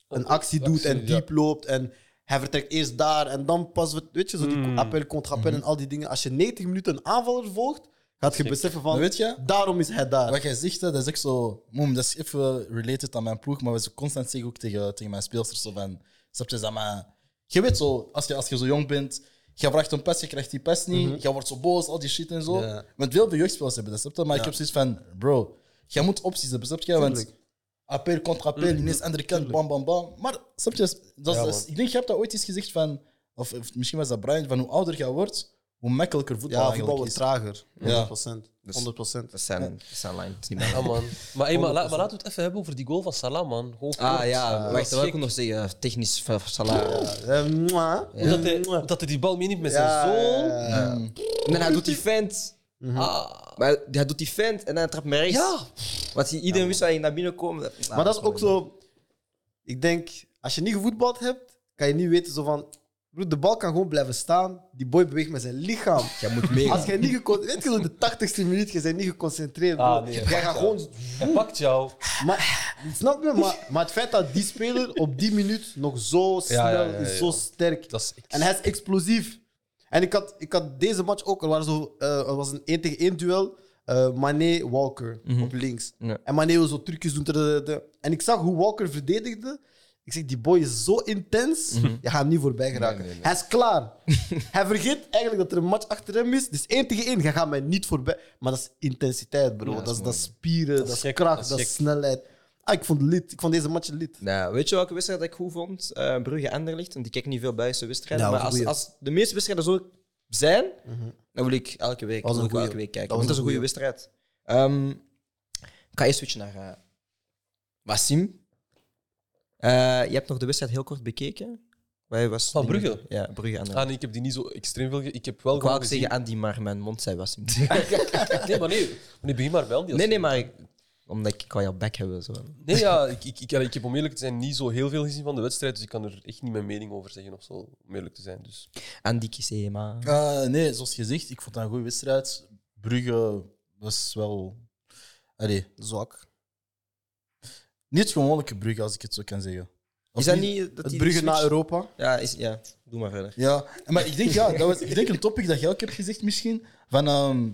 Speaker 2: een actie doet en
Speaker 3: Actie, ja.
Speaker 2: diep loopt. En hij vertrekt eerst daar en dan pas. Weet je, zo die appel, contrappel en al die dingen. Als je 90 minuten een aanvaller volgt, Gaat je beseffen
Speaker 4: Maar
Speaker 2: van,
Speaker 4: weet je,
Speaker 2: daarom is hij daar.
Speaker 4: wat jij zegt, hè, dat is echt zo... Moem, dat is even related aan mijn ploeg, maar we zijn constant zeggen ook tegen, tegen mijn speelsters zo van... Snap je, dat maar... Je weet zo, als je, als je zo jong bent, je vraagt een pas, je krijgt die pas niet, je wordt zo boos, al die shit en zo.
Speaker 2: Mhm. Ja.
Speaker 4: Want veel van jeugdspelers hebben dat, snap je? Maar ik heb zoiets van, bro, jij moet opties hebben, snap je? Want
Speaker 2: Tuurlijk. Mhm.
Speaker 4: appel contra appel, ineens andere kant, bam, bam, bam. Maar snap je, dat is-
Speaker 2: Ja,
Speaker 4: dat is- ik denk, je hebt dat ooit eens gezegd van... Of, of misschien was dat Brian, van hoe ouder je wordt, hoe makkelijker voetbal
Speaker 2: ja,
Speaker 4: eigenlijk
Speaker 2: voetbal wordt
Speaker 4: is.
Speaker 2: trager. 100%.
Speaker 4: Ja.
Speaker 2: 100%.
Speaker 1: Dat zijn, dat zijn lijn. Het is niet mijn
Speaker 3: Ah, man. Maar, hey, maar, la- maar laten we het even hebben over die goal van Salah, man. Gewoon
Speaker 1: Ah
Speaker 3: kort.
Speaker 1: ja,
Speaker 3: Dat
Speaker 1: wacht, dat
Speaker 3: was
Speaker 1: wil ik
Speaker 3: gek.
Speaker 1: ook nog zeggen. Eh, Technisch van Salah.
Speaker 2: Eh, mwah.
Speaker 1: Ja.
Speaker 3: Dat hij, dat hij die bal meeneemt met
Speaker 2: Ja,
Speaker 3: zijn zoon.
Speaker 2: ja, ja.
Speaker 1: Ja. En dan hij doet die vent.
Speaker 3: Ah,
Speaker 1: Maar hij doet die vent en dan trapt hij rechts.
Speaker 3: ja.
Speaker 1: Want hij- iedereen wist dat hij naar binnen kwam. Nou,
Speaker 2: Maar dat is ook
Speaker 1: wel-
Speaker 2: zo. Ik denk, als je niet gevoetbald hebt, kan je niet weten zo van. Broer, de bal kan gewoon blijven staan. Die boy beweegt met zijn lichaam.
Speaker 1: Jij moet mee.
Speaker 2: Als jij niet geconcentreerd weet je, zo de 80ste minuut, je bent niet geconcentreerd.
Speaker 3: Ah,
Speaker 2: broer.
Speaker 3: nee,
Speaker 2: jij
Speaker 3: fuck
Speaker 2: gaat
Speaker 3: jou.
Speaker 2: gewoon.
Speaker 3: Hij pakt jou.
Speaker 2: Maar, snap je? Maar, maar het feit dat die speler op die minuut nog zo snel
Speaker 3: ja, ja,
Speaker 2: is,
Speaker 3: ja.
Speaker 2: zo sterk.
Speaker 3: Dat is,
Speaker 2: En hij is explosief. En ik had, ik had deze match ook, er, waren zo, eh, er was een 1 tegen 1 duel. eh Mané Walker
Speaker 3: Mhm.
Speaker 2: op links.
Speaker 1: Ja.
Speaker 2: En Mané wil zo trucjes doen. tada, tada. En ik zag hoe Walker verdedigde. Ik zeg, die boy is zo intens.
Speaker 3: Mhm.
Speaker 2: Je gaat hem niet voorbij geraken. Hij is klaar. hij vergeet eigenlijk dat er een match achter hem is. Dus 1 tegen 1, hij gaat mij niet voorbij. Maar dat is intensiteit, bro. dat, is, dat is spieren, dat, is
Speaker 3: gek,
Speaker 2: kracht,
Speaker 3: dat
Speaker 2: dat
Speaker 3: is
Speaker 2: is,
Speaker 3: gek.
Speaker 2: snelheid. Ah, ik vond het lit. Ik vond deze match lit.
Speaker 1: Nou, weet je welke wedstrijd dat ik goed vond? Eh Brugge Anderlicht. Want ik kijk niet veel Belgische wedstrijden.
Speaker 2: Ja,
Speaker 1: maar
Speaker 2: Nou, dat was
Speaker 1: als,
Speaker 2: een Mhm.
Speaker 1: als de meeste wedstrijden zo zijn, dan wil ik elke week,
Speaker 2: Dat was
Speaker 1: wil
Speaker 2: een
Speaker 1: ik wel elke
Speaker 2: goeie.
Speaker 1: week kijken.
Speaker 2: Dat
Speaker 1: want dat
Speaker 2: was
Speaker 1: is een goede
Speaker 2: een
Speaker 1: wedstrijd. Ehm, ik ga eerst switchen naar eh Wassim. Eh, je hebt nog de wedstrijd heel kort bekeken. Wij was
Speaker 3: Van
Speaker 1: die-
Speaker 3: Brugge?
Speaker 1: Ja, Brugge Anderlicht.
Speaker 3: Ah, nee, ik heb die niet zo extreem veel ge- Ik heb wel
Speaker 1: ik wou
Speaker 3: gewoon
Speaker 1: ook zeggen
Speaker 3: gezien...
Speaker 1: Andy, maar mijn mond zei Wassim.
Speaker 3: Nee, maar nee. Nee, begin maar wel.
Speaker 1: nee, nee, maar ik- omdat ik, ik wou jouw bek hebben. Zo.
Speaker 3: Nee, ja, ik, ik, ik, allee, ik heb om eerlijk te zijn niet zo heel veel gezien van de wedstrijd, dus ik kan er echt niet mijn mening over zeggen of zo, om eerlijk te zijn. Dus.
Speaker 1: Andy Kisema.
Speaker 4: Eh, nee, zoals gezegd, ik vond dat een goede wedstrijd. Brugge was wel. Allee,
Speaker 2: Zwak.
Speaker 4: niet gewoonlijke Brugge, als ik het zo kan zeggen. Of
Speaker 1: Is dat niet... Dat
Speaker 2: Het
Speaker 1: die
Speaker 2: Brugge naar
Speaker 1: switch-
Speaker 2: Europa.
Speaker 1: Ja, is, ja, doe maar verder.
Speaker 4: Ja, maar ik denk, ja, dat was, ik denk een topic dat jij ook hebt gezegd misschien. Van ehm,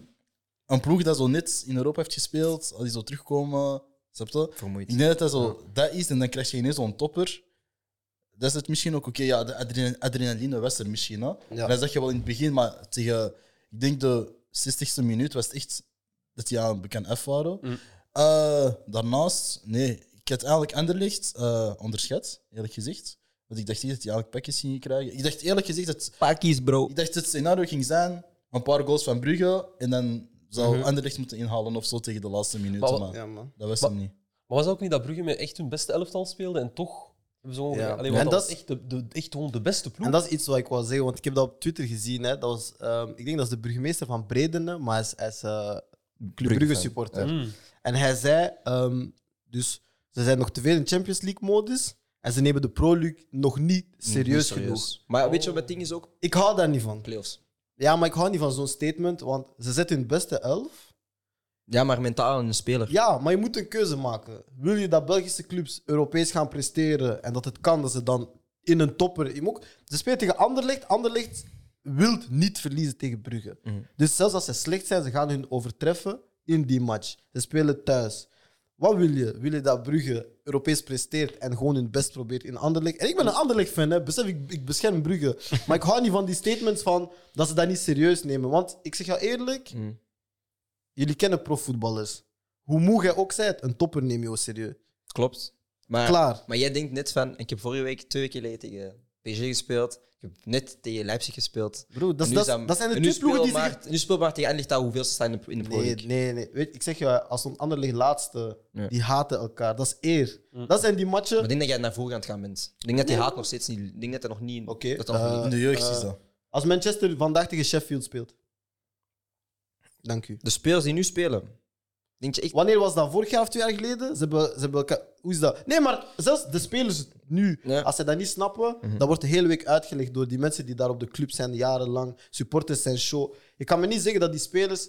Speaker 4: een ploeg dat zo net in Europa heeft gespeeld, als die zo terugkomen. Snap je?
Speaker 1: Vermoeid.
Speaker 4: Ik denk dat dat zo dat is en dan krijg je ineens zo'n topper. Dat is het misschien ook oké. ja, de adrena- adrenaline was er misschien. Hè?
Speaker 2: Ja.
Speaker 4: Dat zag je wel in het begin, maar tegen, ik denk de 60ste minuut was het echt dat die aan bekend F waren.
Speaker 3: Mm.
Speaker 4: Eh, daarnaast, nee, ik had eigenlijk Anderlecht eh onderschat, eerlijk gezegd. Want ik dacht niet dat die eigenlijk pakjes gingen krijgen. Ik dacht eerlijk gezegd dat
Speaker 1: Pakkies, bro.
Speaker 4: ik dacht het scenario ging zijn: een paar goals van Brugge en dan zou Anderlecht moeten inhalen of zo tegen de laatste minuut.
Speaker 3: Maar
Speaker 4: Maar,
Speaker 3: wat-
Speaker 2: Ja, man.
Speaker 4: dat was
Speaker 3: Maar-
Speaker 4: hem niet.
Speaker 3: Maar was dat ook niet dat Brugge met echt hun beste elftal speelde en toch hebben ze gewoon...
Speaker 2: Ja.
Speaker 3: Allee,
Speaker 2: En
Speaker 3: want dat
Speaker 2: dat
Speaker 3: was
Speaker 2: is-
Speaker 3: echt, de, de- echt gewoon de beste ploeg.
Speaker 2: En dat is iets wat ik wou zeggen, want ik heb dat op Twitter gezien. Hè. Dat was, ehm, ik denk dat is de burgemeester van Bredene, maar hij is, hij is eh, Club Brugge supporter.
Speaker 3: Mm.
Speaker 2: En hij zei, ehm, dus ze zijn nog te veel in Champions League modus en ze nemen de Pro League nog niet serieus, genoeg.
Speaker 1: Maar weet je wat het ding is ook?
Speaker 2: Ik hou daar niet van.
Speaker 1: Playoffs.
Speaker 2: Ja, maar ik hou niet van zo'n statement, want ze zetten hun beste elf.
Speaker 1: Ja, maar mentaal een speler.
Speaker 2: Ja, maar je moet een keuze maken. Wil je dat Belgische clubs Europees gaan presteren en dat het kan dat ze dan in een topper... Je moet ook- Ze spelen tegen Anderlecht. Anderlecht wil niet verliezen tegen Brugge.
Speaker 1: Mhm.
Speaker 2: Dus zelfs als ze slecht zijn, ze gaan hun overtreffen in die match. Ze spelen thuis. Wat wil je? Wil je dat Brugge Europees presteert en gewoon hun best probeert in Anderlecht? En ik ben een Anderlecht-fan, hè. besef, ik, ik bescherm Brugge. maar ik hou niet van die statements van dat ze dat niet serieus nemen. Want ik zeg jou eerlijk,
Speaker 1: Mhm.
Speaker 2: jullie kennen profvoetballers. Hoe moe jij ook zijt, een topper neem je wel serieus.
Speaker 1: Klopt. Maar,
Speaker 2: Klaar.
Speaker 1: maar jij denkt net van, ik heb vorige week, twee weken geleden tegen PSG gespeeld. Ik heb net tegen Leipzig gespeeld.
Speaker 2: Bro, dat,
Speaker 1: En
Speaker 2: is-
Speaker 1: nu
Speaker 2: dat,
Speaker 1: is
Speaker 2: dat zijn de
Speaker 1: en nu
Speaker 2: twee ploegen die zich...
Speaker 1: speelbaar- Nu speelbaar tegen Anderlecht dat hoeveel ze staan in de, in de Pro
Speaker 2: Nee,
Speaker 1: League.
Speaker 2: nee, nee. Weet, je, ik zeg je, als een ander ligt laatste,
Speaker 1: Ja.
Speaker 2: die haten elkaar. Dat is eer. Dat zijn die matchen...
Speaker 1: Maar ik denk dat jij naar voren aan het gaan bent. Ik denk dat die haat nog steeds niet... Ik denk dat dat nog niet...
Speaker 2: Oké,
Speaker 1: dat dat nog
Speaker 2: eh,
Speaker 1: niet-
Speaker 4: In de jeugd
Speaker 2: eh,
Speaker 4: is dat.
Speaker 2: Als Manchester vandaag tegen Sheffield speelt. Dank u.
Speaker 1: De spelers die nu spelen... Denk je echt...
Speaker 2: Wanneer was dat? Vorig jaar of twee jaar geleden? Ze hebben, ze hebben elkaar... Hoe is dat? Nee, maar zelfs de spelers nu,
Speaker 1: Ja.
Speaker 2: als ze dat niet snappen, dat wordt de hele week uitgelegd door die mensen die daar op de club zijn jarenlang. Supporters zijn show. Je kan me niet zeggen dat die spelers...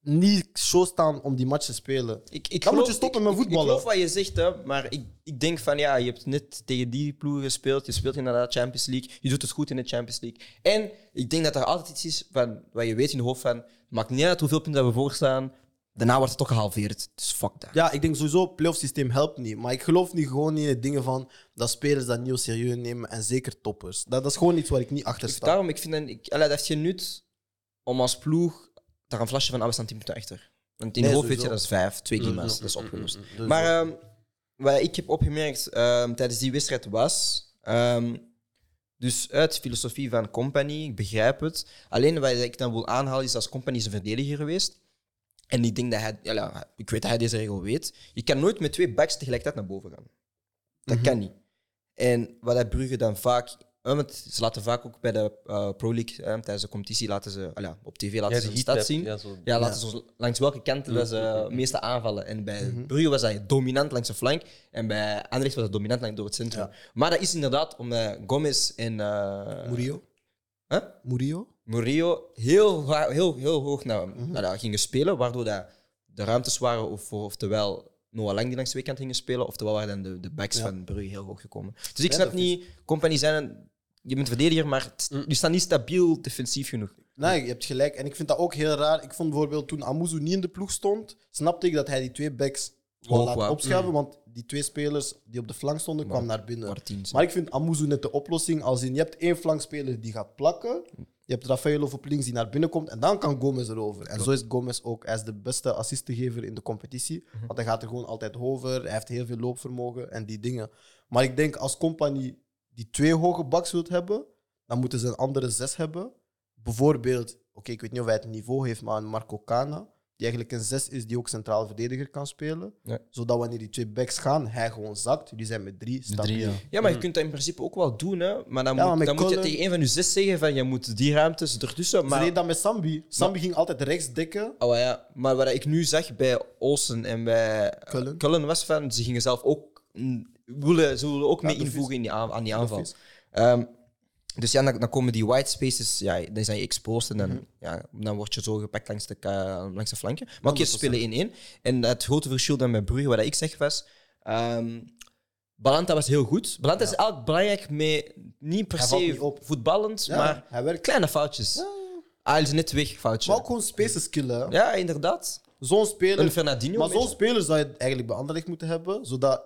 Speaker 2: niet show staan om die match te spelen.
Speaker 1: Ik, ik
Speaker 2: Dan moet je stoppen
Speaker 1: ik-
Speaker 2: met
Speaker 1: ik-
Speaker 2: voetballen.
Speaker 1: Ik, geloof wat je zegt, hè, maar ik, ik denk van ja, je hebt net tegen die ploeg gespeeld. Je speelt inderdaad Champions League. Je doet het goed in de Champions League. En ik denk dat er altijd iets is van wat je weet in je hoofd van. Maakt niet uit hoeveel punten we voor staan. Daarna wordt het toch gehalveerd. Dus fuck dat.
Speaker 2: Ja, ik denk sowieso, het playoff systeem helpt niet. Maar ik geloof niet gewoon in het dingen van dat spelers dat niet serieus nemen en zeker toppers. Dat, dat is gewoon iets waar ik niet achter
Speaker 1: Dus
Speaker 2: sta.
Speaker 1: daarom, ik vind dat, ik, allee, dat heeft geen nut om als ploeg daar een flasje van alles aan 10 punten achter. Want in
Speaker 2: Nee,
Speaker 1: je hoofd weet je,
Speaker 2: sowieso. Mm-hmm,
Speaker 1: dat is vijf, twee klima's, dat is opgelost.
Speaker 2: Dus
Speaker 1: Maar ehm, wat ik heb opgemerkt ehm, tijdens die wedstrijd was. ehm, dus uit filosofie van Company, ik begrijp het. Alleen wat ik dan wil aanhalen is dat Company is een verdediger geweest. En ik denk dat hij, ja, ja, ik weet dat hij deze regel weet. Je kan nooit met twee backs tegelijkertijd naar boven gaan. Dat kan niet. En wat dat Brugge dan vaak. eh, Want ze laten vaak ook bij de eh, Pro League, eh, tijdens de competitie, laten ze, ah ja, op tv laten ze
Speaker 3: Ja, die
Speaker 1: de
Speaker 3: heat
Speaker 1: stad
Speaker 3: map,
Speaker 1: zien.
Speaker 3: ja, zo.
Speaker 1: Ja, laten ze ons langs welke kanten dat ze eh, het meeste aanvallen. En bij Brugge was hij dominant langs de flank. En bij Anderlecht was hij dominant langs door het centrum. Maar dat is inderdaad omdat Gomez en eh
Speaker 2: Murillo?
Speaker 1: Huh?
Speaker 2: Murillo?
Speaker 1: Murillo heel, wa- heel, heel hoog naar, naar daar gingen spelen. Waardoor dat de ruimtes waren of, voor- oftewel Noah Lang die langs de weekend gingen spelen. Oftewel waren dan de, de backs van Brugge heel hoog gekomen. Dus ik snap niet, Company zijn... een- Je bent verdediger, maar het- je staat niet stabiel defensief genoeg.
Speaker 2: Nee, je hebt gelijk. En ik vind dat ook heel raar. Ik vond bijvoorbeeld toen Amuzu niet in de ploeg stond, snapte ik dat hij die twee backs gewoon
Speaker 1: Hoog
Speaker 2: laat
Speaker 1: wou. Mm.
Speaker 2: opschuiven. Want die twee spelers die op de flank stonden, kwamen naar binnen.
Speaker 1: Martins.
Speaker 2: Maar ik vind Amuzu net de oplossing. Als in, je hebt één flankspeler die gaat plakken. Je hebt Rafaelov op links die naar binnen komt. En dan kan Gomez erover. En zo is Gomez ook. Hij is de beste assistengever in de competitie.
Speaker 1: Mhm.
Speaker 2: Want hij gaat er gewoon altijd over. Hij heeft heel veel loopvermogen en die dingen. Maar ik denk als compagnie die twee hoge backs wilt hebben, dan moeten ze een andere zes hebben. Bijvoorbeeld, oké, ik weet niet of hij het niveau heeft, maar een Marco Cana. Die eigenlijk een zes is die ook centraal verdediger kan spelen.
Speaker 1: Ja.
Speaker 2: Zodat wanneer die twee backs gaan, hij gewoon zakt. Die zijn met drie stabiel.
Speaker 4: drie, ja.
Speaker 1: Ja, maar je kunt dat in principe ook wel doen, hè. Maar dan,
Speaker 2: Ja, maar
Speaker 1: moet,
Speaker 2: met
Speaker 1: dan moet je
Speaker 2: Cullen-
Speaker 1: tegen een van je zes zeggen van je moet die ruimtes ertussen.
Speaker 2: Ze
Speaker 1: Maar,
Speaker 2: deden dat met Sambi. Sambi ging altijd rechts dekken.
Speaker 1: oh, ja, maar wat ik nu zag bij Olsen en bij eh,
Speaker 2: Cullen.
Speaker 1: was van, ze gingen zelf ook mm, willen, ze willen ook mee
Speaker 2: dat is-
Speaker 1: invoegen in die aan, aan die aanval.
Speaker 2: is-
Speaker 1: Ehm, dus ja, dan, dan komen die white spaces, ja, dan zijn je exposed en dan,
Speaker 2: Mhm.
Speaker 1: ja, dan word je zo gepakt langs de, ka- langs de flanken. Maar oké, ze spelen 1-1. En het grote verschil dan met Brugge, wat ik zeg, was... ehm, Balanta was heel goed. Balanta is altijd belangrijk met niet per
Speaker 2: Hij valt
Speaker 1: se
Speaker 2: niet op.
Speaker 1: voetballend,
Speaker 2: Ja,
Speaker 1: maar
Speaker 2: hij werkt.
Speaker 1: kleine foutjes. Ah, Hij is net weg, foutje.
Speaker 2: Maar ook gewoon spaces killen. hè.
Speaker 1: Ja, inderdaad.
Speaker 2: Zo'n speler.
Speaker 1: Een Fernandinho
Speaker 2: Maar
Speaker 1: een
Speaker 2: zo'n
Speaker 1: beetje.
Speaker 2: speler zou je eigenlijk bij Anderlecht moeten hebben, zodat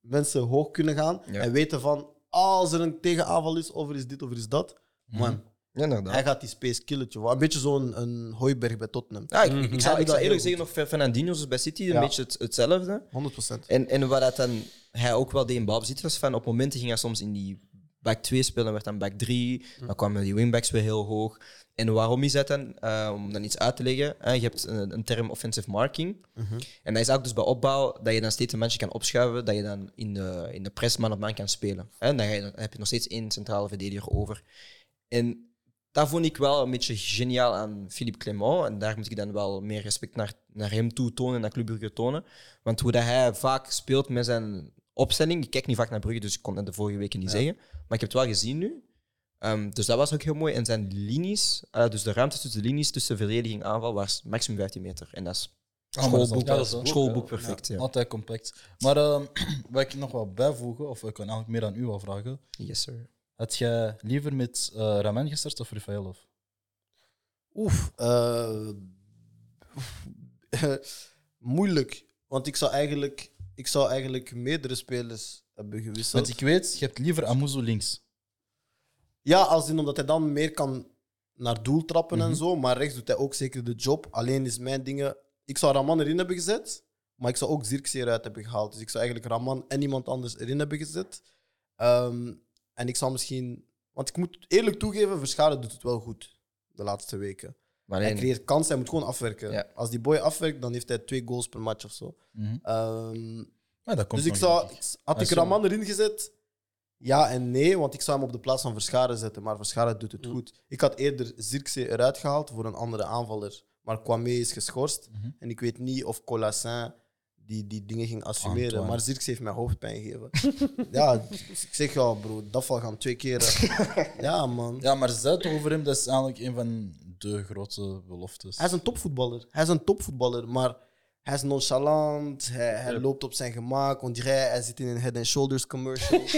Speaker 2: mensen hoog kunnen gaan
Speaker 1: Ja.
Speaker 2: en weten van als er een tegenaanval is, of er is dit of er is dat.
Speaker 1: Mhm.
Speaker 2: Man,
Speaker 1: Ja, inderdaad.
Speaker 2: hij gaat die space killen. tjoh. Een beetje zo'n een Hooiberg bij Tottenham. 100%.
Speaker 1: Ja, Mm, ik, ik, zou,
Speaker 2: doet
Speaker 1: ik zou
Speaker 2: dat heel
Speaker 1: eerlijk zeggen, nog Fernandinho is bij City een
Speaker 2: Ja.
Speaker 1: beetje het- hetzelfde. En, en wat dat dan hij ook wel deed in balbezit was van op momenten ging hij soms in die back 2 spelen, werd dan back 3. Dan kwamen die wingbacks weer heel hoog. En waarom is dat dan? Eh, om dan iets uit te leggen. hè, je hebt een, een term offensive marking. En dat is ook dus bij opbouw dat je dan steeds een mensje kan opschuiven, dat je dan in de, in de press man op man kan spelen. En dan, ga je, dan heb je nog steeds één centrale verdediger over. En dat vond ik wel een beetje geniaal aan Philippe Clement. En daar moet ik dan wel meer respect naar, naar hem toe tonen, naar Club Brugge tonen. Want hoe dat hij vaak speelt met zijn opstelling. Ik kijk niet vaak naar Brugge, dus ik kon dat de vorige weken niet zeggen. Maar ik heb het wel gezien nu. Ehm, dus dat was ook heel mooi. En zijn linies, eh, dus de ruimte tussen de linies tussen verdediging en aanval, was maximum 15 meter. En dat is
Speaker 4: Ah, maar dat is
Speaker 1: schoolboek,
Speaker 4: altijd zo.
Speaker 3: dat is
Speaker 1: schoolboek
Speaker 3: ook,
Speaker 1: perfect. Ja.
Speaker 4: Altijd compact. Maar ehm wat ik nog wat bijvoegen, of ik kan eigenlijk meer aan u wat vragen.
Speaker 1: Yes, sir.
Speaker 4: Had jij liever met eh Raman gestart of Rafaelov?
Speaker 2: Oef. eh, moeilijk. Want ik zou eigenlijk, ik zou eigenlijk meerdere spelers hebben gewisseld.
Speaker 4: Want ik weet, je hebt liever Amuzu links.
Speaker 2: Ja, als in omdat hij dan meer kan naar doel trappen en zo. Maar rechts doet hij ook zeker de job. Alleen is mijn dingen. Ik zou Raman erin hebben gezet, maar ik zou ook Zirkzee eruit hebben gehaald. Dus ik zou eigenlijk Raman en iemand anders erin hebben gezet. Ehm, en ik zou misschien. Want ik moet eerlijk toegeven, Verscharen doet het wel goed de laatste weken.
Speaker 1: Maar
Speaker 2: Hij
Speaker 1: nee,
Speaker 2: creëert kansen, hij moet gewoon afwerken.
Speaker 1: Ja.
Speaker 2: Als die boy afwerkt, dan heeft hij twee goals per match of zo.
Speaker 4: Mhm.
Speaker 2: Ehm,
Speaker 4: Maar dat komt
Speaker 2: dus ik
Speaker 4: van
Speaker 2: zou,
Speaker 4: jullie.
Speaker 2: had
Speaker 4: Ah,
Speaker 2: ik
Speaker 4: zo.
Speaker 2: Raman erin gezet? Ja en nee, want ik zou hem op de plaats van Verscharen zetten. Maar Verscharen doet het goed. Ik had eerder Zirkzee eruit gehaald voor een andere aanvaller. Maar Kwame is geschorst.
Speaker 4: Mhm.
Speaker 2: En ik weet niet of Colassin die, die dingen ging assumeren.
Speaker 4: Antoine.
Speaker 2: Maar Zirkzee heeft mij hoofdpijn gegeven. ja, dus ik zeg eh. ja, bro, dat val gaan twee keren. ja, man.
Speaker 4: Ja, maar ze zei het over hem, dat is eigenlijk een van de grote beloftes.
Speaker 2: Hij is een topvoetballer. Hij is een topvoetballer, maar hij is nonchalant. Hij, hij loopt op zijn gemak. On dirait, hij zit in een head and shoulders commercial. dat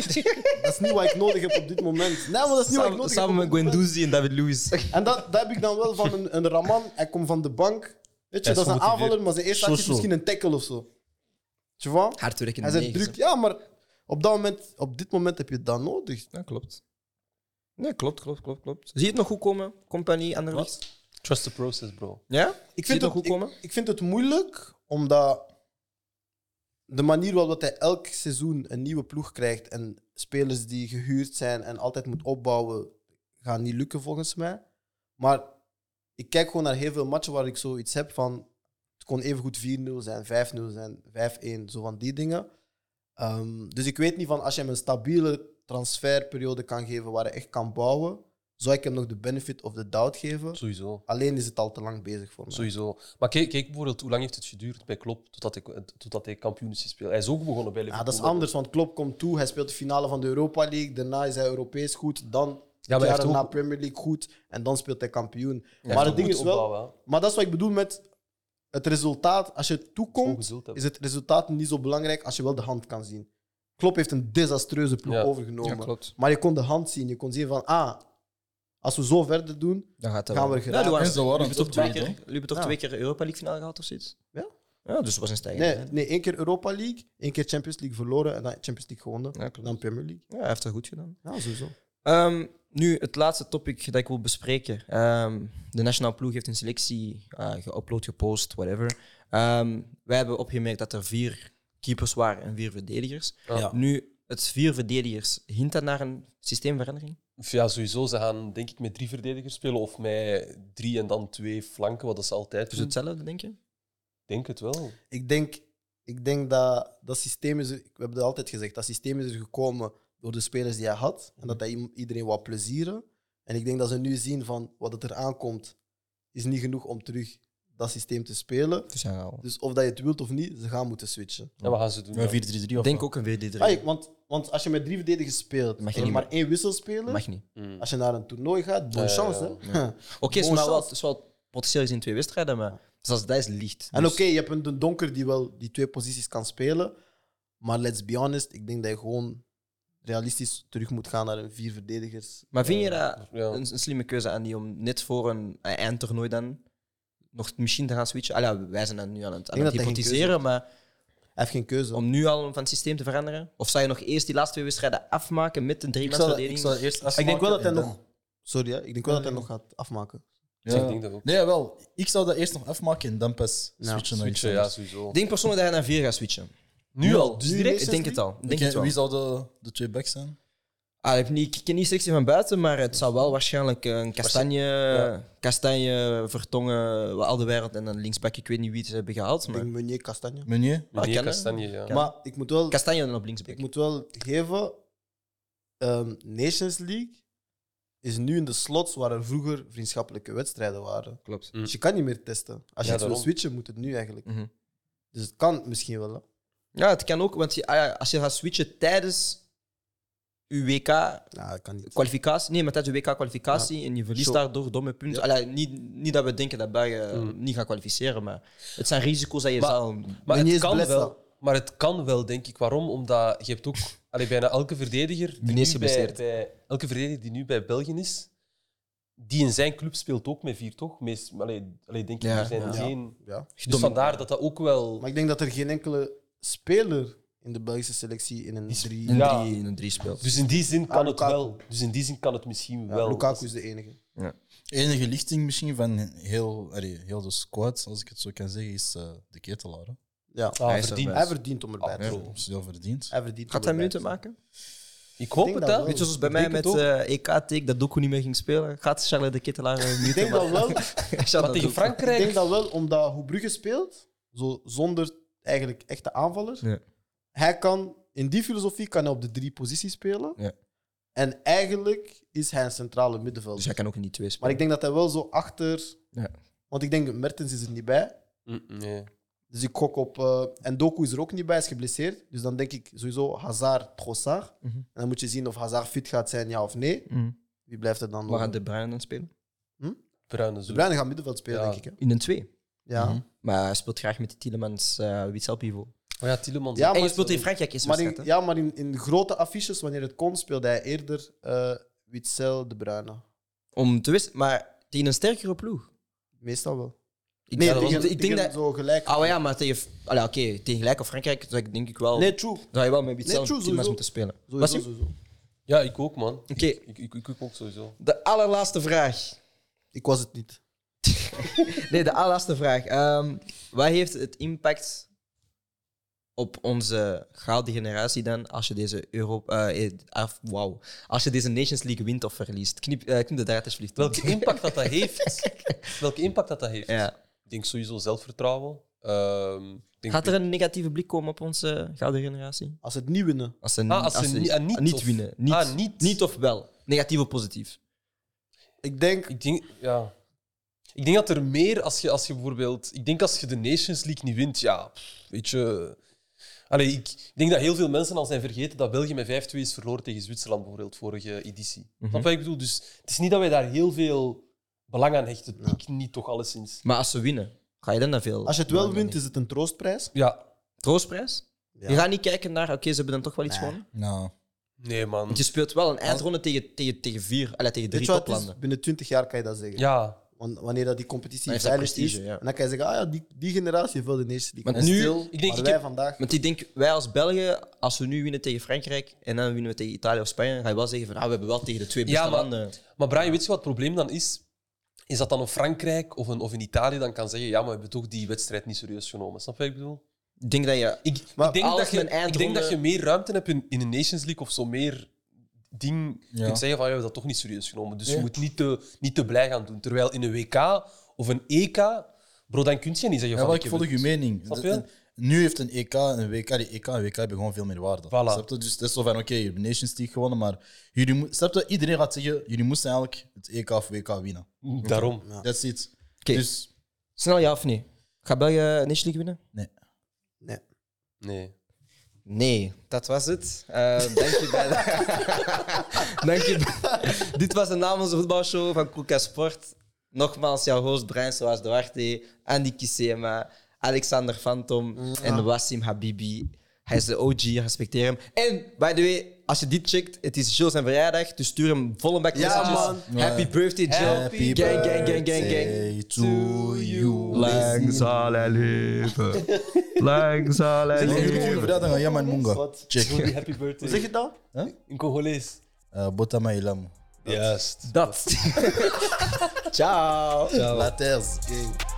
Speaker 2: is niet wat ik nodig heb op dit moment. Nee, maar dat is niet wat ik
Speaker 1: Samen,
Speaker 2: nodig
Speaker 1: samen
Speaker 2: heb.
Speaker 1: met
Speaker 2: op dit moment.
Speaker 1: Guendouzi en David Luiz.
Speaker 2: En dat, dat heb ik dan wel van een, een Raman. Hij komt van de bank. Weet je,
Speaker 3: Hij
Speaker 2: dat is
Speaker 3: is
Speaker 2: een
Speaker 3: gemotiveerd.
Speaker 2: aanvaller, maar zijn eerste actie is
Speaker 4: Zo, zo.
Speaker 2: misschien een tackle of zo. Tu vois?
Speaker 1: Hardwerkende
Speaker 2: Hij zit
Speaker 1: negen,
Speaker 2: druk. Ja, maar op, dat moment, op dit moment heb je het dan nodig.
Speaker 1: Ja, klopt. Nee, klopt, klopt, klopt, klopt. Zie je het nog goed komen, compagnie, Anderlecht?
Speaker 3: Trust the process, bro.
Speaker 1: Ja?
Speaker 2: Ik
Speaker 1: Zie je
Speaker 2: vind,
Speaker 1: het nog
Speaker 2: het,
Speaker 1: goed
Speaker 2: ik,
Speaker 1: komen?
Speaker 2: ik vind het moeilijk, omdat de manier waarop hij elk seizoen een nieuwe ploeg krijgt en spelers die gehuurd zijn en altijd moet opbouwen, gaan niet lukken volgens mij. Maar ik kijk gewoon naar heel veel matchen waar ik zoiets heb van het kon evengoed 4-0 zijn, 5-0 zijn, 5-1, zo van die dingen. Ehm, dus ik weet niet van als je hem een stabiele transferperiode kan geven waar hij echt kan bouwen, zou ik hem nog de benefit of the doubt geven.
Speaker 3: Sowieso.
Speaker 2: Alleen is het al te lang bezig voor mij.
Speaker 3: Sowieso. Maar kijk, kijk bijvoorbeeld, hoe lang heeft het geduurd bij Klopp totdat hij, totdat hij kampioen is gespeeld? Hij is ook begonnen bij
Speaker 2: Ja,
Speaker 3: Liverpool.
Speaker 2: dat is anders, want Klopp komt toe, hij speelt de finale van de Europa League, daarna is hij Europees goed, dan
Speaker 3: hij
Speaker 2: ja,
Speaker 3: heeft
Speaker 2: jaren
Speaker 3: ook-
Speaker 2: na Premier League goed en dan speelt hij kampioen.
Speaker 3: Hij
Speaker 2: maar
Speaker 3: heeft
Speaker 2: het ding
Speaker 3: ook
Speaker 2: is
Speaker 3: moeten
Speaker 2: wel,
Speaker 3: opbouwen, hè.
Speaker 2: maar dat is wat ik bedoel met het resultaat. Als je
Speaker 3: Gewoon
Speaker 2: toekomt,
Speaker 3: geduld hebben.
Speaker 2: is het resultaat niet zo belangrijk als je wel de hand kan zien. Klopp heeft een desastreuze ploeg
Speaker 3: Ja.
Speaker 2: overgenomen,
Speaker 1: klopt.
Speaker 2: maar je kon de hand zien, je kon zien van ah, als we zo verder doen,
Speaker 1: Dan gaat dat
Speaker 2: gaan
Speaker 1: wel.
Speaker 2: we
Speaker 1: Ja,
Speaker 2: geraakt.
Speaker 1: doe maar.
Speaker 4: En ze waren
Speaker 1: Jullie hebben toch
Speaker 4: het
Speaker 1: twee
Speaker 4: ook
Speaker 1: keer, Ah.
Speaker 4: dood,
Speaker 1: jullie hebben toch
Speaker 2: Ja.
Speaker 1: twee keer Europa League finale gehad of zoiets?
Speaker 2: Ja.
Speaker 1: Ja, dus het was een stijging.
Speaker 2: nee, nee, één keer Europa League, één keer Champions League verloren en dan Champions League gewonnen,
Speaker 1: Ja, klopt.
Speaker 2: dan Premier League.
Speaker 1: Ja, hij heeft dat goed gedaan.
Speaker 2: Ja, sowieso.
Speaker 1: Ehm, nu, het laatste topic dat ik wil bespreken. Ehm, de nationale ploeg heeft een selectie eh geüpload, gepost, whatever. Ehm, wij hebben opgemerkt dat er vier keepers waren en vier verdedigers.
Speaker 4: Ja.
Speaker 1: Nu, het vier verdedigers, hint dat naar een systeemverandering?
Speaker 3: Ja, sowieso. Ze gaan denk ik met drie verdedigers spelen of met drie en dan twee flanken, wat dat ze altijd
Speaker 1: Dus
Speaker 3: doen. Ik
Speaker 1: hetzelfde, denk je?
Speaker 3: denk het wel.
Speaker 2: Ik denk, ik denk dat dat systeem is. er- We hebben dat altijd gezegd. Dat systeem is er gekomen door de spelers die hij had. En dat
Speaker 1: Mhm.
Speaker 2: hij i- iedereen wou plezieren. En ik denk dat ze nu zien van wat het er aankomt, is niet genoeg om terug dat systeem te spelen.
Speaker 1: Dus ja, al.
Speaker 2: Dus of dat je het wilt of niet, ze gaan moeten switchen.
Speaker 3: En wat gaan ze doen?
Speaker 4: Ja,
Speaker 3: dan?
Speaker 4: 4-3-3
Speaker 1: Ik
Speaker 4: of
Speaker 1: denk
Speaker 4: wat?
Speaker 1: ook een VD3.
Speaker 2: Ah, want, want als je met drie verdedigers speelt
Speaker 1: Mag je
Speaker 2: en je
Speaker 1: niet
Speaker 2: maar één wissel spelen,
Speaker 1: Mag niet.
Speaker 3: Mm.
Speaker 2: als je naar een toernooi gaat, bonne
Speaker 3: Ja, ja,
Speaker 2: chance.
Speaker 3: ja.
Speaker 2: Hè?
Speaker 1: Oké, het is
Speaker 2: Bon
Speaker 1: maar wel-
Speaker 2: chance.
Speaker 1: het is wel potentieel gezien twee wedstrijden, maar zelfs dat is licht.
Speaker 2: Ah. En
Speaker 1: Dus-
Speaker 2: oké, je hebt een Den donker die wel die twee posities kan spelen. Maar let's be honest, ik denk dat je gewoon realistisch terug moet gaan naar een vier verdedigers.
Speaker 1: Maar vind je dat
Speaker 3: Ja.
Speaker 1: een, een slimme keuze aan die om net voor een een eindtoernooi dan nog misschien te gaan switchen? Ah, ja, wij zijn dat nu aan het, aan
Speaker 2: denk
Speaker 1: het
Speaker 2: dat hij geen
Speaker 1: hypotiseren, maar
Speaker 2: Hij heeft geen keuze.
Speaker 1: om nu al van het systeem te veranderen? Of zou je nog eerst die laatste twee wedstrijden afmaken met een
Speaker 4: Ik zou,
Speaker 1: driemansverdeling?
Speaker 4: ik zou eerst
Speaker 2: ik denk wel dat hij
Speaker 4: afmaken en
Speaker 2: nog. Sorry, hè, ik denk wel dat hij nog gaat afmaken.
Speaker 4: dan-
Speaker 3: Ja,
Speaker 4: Ja.
Speaker 3: ik denk dat ook.
Speaker 4: Nee, wel. Ik zou dat eerst nog afmaken en dan pas
Speaker 2: Ja,
Speaker 4: switchen naar iets
Speaker 3: Switchen, ja,
Speaker 4: anders.
Speaker 3: sowieso.
Speaker 1: Ik denk persoonlijk dat hij naar vier gaat switchen.
Speaker 3: Nu al?
Speaker 4: Dus
Speaker 1: Nu
Speaker 4: direct?
Speaker 1: Ik denk het al. Ik Denk
Speaker 4: Oké,
Speaker 1: het wel.
Speaker 4: Wie zou de, de twee backs zijn?
Speaker 1: Ah, ik, heb niet, ik ken niet selectie van buiten, maar het zou wel waarschijnlijk eh, een kastanje, kastanje vertongen, al de wereld en een linksback. Ik weet niet wie het ze hebben gehaald,
Speaker 2: Ik
Speaker 1: maar
Speaker 2: denk Meunier Castagne.
Speaker 4: Meunier?
Speaker 1: Ah,
Speaker 3: Meneer
Speaker 1: kennen?
Speaker 3: Kastanje, ja.
Speaker 2: Maar ik moet wel,
Speaker 1: kastanje dan op linksback.
Speaker 2: ik moet wel geven: ehm, Nations League is nu in de slots waar er vroeger vriendschappelijke wedstrijden waren.
Speaker 1: Klopt.
Speaker 2: Dus je kan niet meer testen. Als je het wil
Speaker 3: Ja, daarom.
Speaker 2: switchen, moet het nu eigenlijk.
Speaker 1: Mhm.
Speaker 2: Dus het kan misschien wel. hè.
Speaker 1: Ja, het kan ook, want je- ah ja, als je gaat switchen tijdens uw WK-kwalificatie,
Speaker 2: Ja, Nou, dat kan niet.
Speaker 1: nee, maar tijdens uw WK-kwalificatie en je verliest
Speaker 2: Zo.
Speaker 1: daardoor domme punten. Allee, niet, niet dat we denken dat België eh,
Speaker 2: Mm.
Speaker 1: niet gaat kwalificeren, maar het zijn risico's dat je zal.
Speaker 3: Maar
Speaker 2: Meunier
Speaker 3: het,
Speaker 2: is
Speaker 3: kan
Speaker 2: blessed.
Speaker 3: wel, maar het kan wel, denk ik. Waarom? Omdat je hebt ook allee, bijna elke verdediger, die
Speaker 1: Meneer is
Speaker 3: nu bij,
Speaker 1: geblesseerd.
Speaker 3: bij- elke verdediger die nu bij België is, die in zijn club speelt ook met vier, toch? Meest, allee, allee, denk ik,
Speaker 1: Ja,
Speaker 3: er zijn
Speaker 1: ja.
Speaker 3: geen...
Speaker 2: Ja.
Speaker 3: Dus vandaar dat dat ook wel...
Speaker 2: Maar ik denk dat er geen enkele speler in de Belgische selectie in een drie...
Speaker 1: In,
Speaker 3: Ja.
Speaker 1: drie, in een drie speelt.
Speaker 3: Dus in die zin kan het
Speaker 2: Ah, Lukaku.
Speaker 3: wel. Dus in die zin kan het misschien
Speaker 2: Ja,
Speaker 3: wel.
Speaker 2: Lukaku is de enige.
Speaker 4: Enige lichting misschien van heel, allee, heel de squad, als ik het zo kan zeggen, is eh, de ketelaar. hè.
Speaker 2: Ja.
Speaker 3: Ah,
Speaker 1: Hij is Ah,
Speaker 3: verdiend.
Speaker 2: Hij verdient om erbij te
Speaker 4: Ja,
Speaker 2: zijn.
Speaker 4: dat is heel verdiend.
Speaker 2: Hij verdient
Speaker 1: Gaat
Speaker 2: om
Speaker 1: hij
Speaker 2: erbij
Speaker 1: minuten
Speaker 2: te zijn.
Speaker 1: maken?
Speaker 3: Dus Ik hoop
Speaker 2: Ik denk
Speaker 3: het,
Speaker 2: dat
Speaker 3: hè.
Speaker 2: wel.
Speaker 1: Weet je, zoals bij
Speaker 3: Ik
Speaker 1: mij
Speaker 3: denk het
Speaker 1: met eh, EK-take dat Doku niet meer ging spelen, gaat Charles de eh, Kittelaar een
Speaker 2: Ik denk dat wel. Ik
Speaker 3: Maar tegen Frankrijk...
Speaker 2: denk dat wel, omdat hoe Brugge speelt, zo zonder eigenlijk echte aanvallers.
Speaker 1: Ja.
Speaker 2: Hij kan, in die filosofie kan hij op de drie posities spelen.
Speaker 1: Ja.
Speaker 2: En eigenlijk is hij een centrale middenvelder.
Speaker 1: Dus hij kan ook in die twee
Speaker 2: maar
Speaker 1: spelen.
Speaker 2: ik denk dat hij wel zo achter...
Speaker 1: Ja.
Speaker 2: Want ik denk, Mertens is er niet bij.
Speaker 3: Mm, Nee.
Speaker 2: Dus ik gok op. eh, en Doku is er ook niet bij, is geblesseerd. Dus dan denk ik sowieso Hazard, Trossard.
Speaker 1: Mhm.
Speaker 2: En dan moet je zien of Hazard fit gaat zijn, ja of nee.
Speaker 1: Mhm.
Speaker 2: Wie blijft er dan
Speaker 1: Waar
Speaker 2: nog?
Speaker 1: gaat De Bruyne dan spelen?
Speaker 2: Hm?
Speaker 3: Bruine zo.
Speaker 2: De Bruine gaat middenveld spelen,
Speaker 3: Ja.
Speaker 2: denk ik. Hè?
Speaker 1: In een twee.
Speaker 2: Ja.
Speaker 1: Mhm. Maar hij speelt graag met die Tielemans eh Witsel pivot.
Speaker 3: Oh ja, Tielemans.
Speaker 2: Ja,
Speaker 3: Ja,
Speaker 1: en je
Speaker 2: maar-
Speaker 1: speelt in Frankrijk eens
Speaker 2: Maar
Speaker 1: wedstrijd,
Speaker 2: in,
Speaker 1: hè?
Speaker 2: ja, maar in, in grote affiches, wanneer het kon, speelde hij eerder eh Witzel de Bruyne.
Speaker 1: Om te wisselen, maar tegen een sterkere ploeg.
Speaker 2: Meestal wel.
Speaker 1: Ik,
Speaker 2: nee,
Speaker 1: ja, dat
Speaker 2: tegen,
Speaker 1: was- ik denk dat...
Speaker 2: tegen zo gelijk.
Speaker 1: Ah ja, maar tegen, allee, oké, tegen gelijk of Frankrijk zou ik denk ik wel...
Speaker 2: nee, true.
Speaker 1: zou je wel met Witsel
Speaker 2: Nee, true,
Speaker 1: Tielemans
Speaker 2: sowieso.
Speaker 1: moeten spelen. Was
Speaker 2: Sowieso,
Speaker 1: je-
Speaker 2: sowieso.
Speaker 3: ik ook, man.
Speaker 1: Oké,
Speaker 3: Ik, ik, ik, ik ook sowieso.
Speaker 1: de allerlaatste vraag.
Speaker 2: Ik was het niet.
Speaker 1: Nee, de allerlaatste vraag. Ehm, wat heeft het impact op onze gouden generatie dan als je deze Europa, eh, eh, af- wauw, als je deze Nations League wint of verliest? Knip, eh, knip de draad alsjeblieft.
Speaker 3: Welke impact dat dat heeft. Welke impact dat dat heeft.
Speaker 1: Ja.
Speaker 3: Ik denk sowieso zelfvertrouwen. Ehm, ik denk
Speaker 1: Gaat er een negatieve blik komen op onze gouden generatie?
Speaker 2: Als het niet winnen.
Speaker 1: Als ze,
Speaker 3: Ah, als ze ni- ah, niet of-
Speaker 1: winnen. Niet,
Speaker 3: ah, niet.
Speaker 1: niet of wel. Negatief of positief.
Speaker 2: Ik denk,
Speaker 3: Ik denk, ja. Ik denk dat er meer als je, als je bijvoorbeeld. Ik denk als je de Nations League niet wint, ja, pff, weet je. Allee, ik ik denk dat heel veel mensen al zijn vergeten dat België met 5-2 is verloren tegen Zwitserland, bijvoorbeeld, vorige editie. Snap je wat ik bedoel? Dus het is niet dat wij daar heel veel belang aan hechten. Ik niet, toch alleszins.
Speaker 1: Maar als ze winnen, ga je dan naar veel?
Speaker 2: als je het wel wint, is het een troostprijs.
Speaker 3: Ja,
Speaker 1: Troostprijs?
Speaker 2: Ja.
Speaker 1: Je gaat niet kijken naar, oké, ze hebben dan toch wel iets gewonnen.
Speaker 4: Nou,
Speaker 3: nee, man.
Speaker 1: Want je speelt wel een eindronde tegen, tegen, tegen vier, allee, tegen
Speaker 2: Weet
Speaker 1: drie
Speaker 2: je wat het is?
Speaker 1: toplanden.
Speaker 2: Binnen 20 jaar kan je dat zeggen.
Speaker 3: Ja,
Speaker 2: Want wanneer dat die competitie
Speaker 1: Dan heeft dat
Speaker 2: veilig is,
Speaker 1: prestige, ja.
Speaker 2: en dan kan je zeggen, ah ja, die, die generatie heeft wel de Nations League.
Speaker 1: Want
Speaker 2: En
Speaker 1: nu-
Speaker 2: stil,
Speaker 3: ik denk,
Speaker 2: maar
Speaker 3: ik
Speaker 2: wij
Speaker 3: heb-
Speaker 2: vandaag...
Speaker 1: Want ik denk, wij als België, als we nu winnen tegen Frankrijk en dan winnen we tegen Italië of Spanje, dan ga je wel zeggen van, ah, we hebben wel tegen de twee beste
Speaker 3: Ja, maar-
Speaker 1: landen.
Speaker 3: Maar Brian, weet je wat het probleem dan is? Is dat dan een Frankrijk of een, of een Italië dan kan zeggen, ja, maar we hebben toch die wedstrijd niet serieus genomen. Snap je wat ik bedoel?
Speaker 1: Ik denk dat je...
Speaker 3: Ik,
Speaker 2: Maar
Speaker 3: ik, denk,
Speaker 1: als
Speaker 3: dat je,
Speaker 1: men
Speaker 3: ik denk
Speaker 1: eindronde-
Speaker 3: dat je meer ruimte hebt in, in een Nations League of zo meer ding
Speaker 4: Ja.
Speaker 3: kunt zeggen van ja, we hebben dat toch niet serieus genomen. Dus je
Speaker 4: Ja.
Speaker 3: moet niet te, niet te blij gaan doen. Terwijl in een WK of een EK, bro, dan kun je niet zeggen
Speaker 4: ja,
Speaker 3: van...
Speaker 4: maar
Speaker 3: ik
Speaker 4: ik
Speaker 3: heb
Speaker 4: volg
Speaker 3: het-
Speaker 4: je mening.
Speaker 3: Snap je?
Speaker 4: Dat- Nu heeft een EK en een WK, die EK en WK hebben gewoon veel meer waarde.
Speaker 3: Voilà.
Speaker 4: Snap je? Dus dat is zo van, oké, je hebt Nations League gewonnen, maar jullie moet, snap je? iedereen gaat zeggen, jullie moesten eigenlijk het EK of WK winnen.
Speaker 3: Daarom.
Speaker 4: That's it.
Speaker 1: Oké.
Speaker 4: Dus,
Speaker 1: Snel ja of nee? Gaat België de Nations League winnen?
Speaker 2: Nee.
Speaker 3: Nee.
Speaker 1: Nee, dat was het. Eh, dank je bij dank je bij- Dit was de Namens Voetbalshow van Koeka Sport. Nogmaals, jouw host Brian Soares Duarte, Andy Kisema, Alexander Phantom en Wassim Habibi. Hij is de OG, respecteer hem. En, by the way, als je dit checkt, het is Jules zijn verjaardag, dus stuur hem volle back
Speaker 2: Ja,
Speaker 1: messages.
Speaker 2: man.
Speaker 1: Happy birthday, Jill.
Speaker 4: happy
Speaker 1: gang, gang, gang, gang, gang.
Speaker 4: birthday to you.
Speaker 1: Lang
Speaker 4: zal hij leven. Lang zal hij leven. Dat aan Yaman Munga. Check.
Speaker 3: Die happy birthday.
Speaker 2: Zeg je dat?
Speaker 3: In Congolees.
Speaker 4: Eh, Botama Ilamu.
Speaker 3: Juist.
Speaker 1: Dat. Ciao.
Speaker 4: Laters.
Speaker 2: Oké.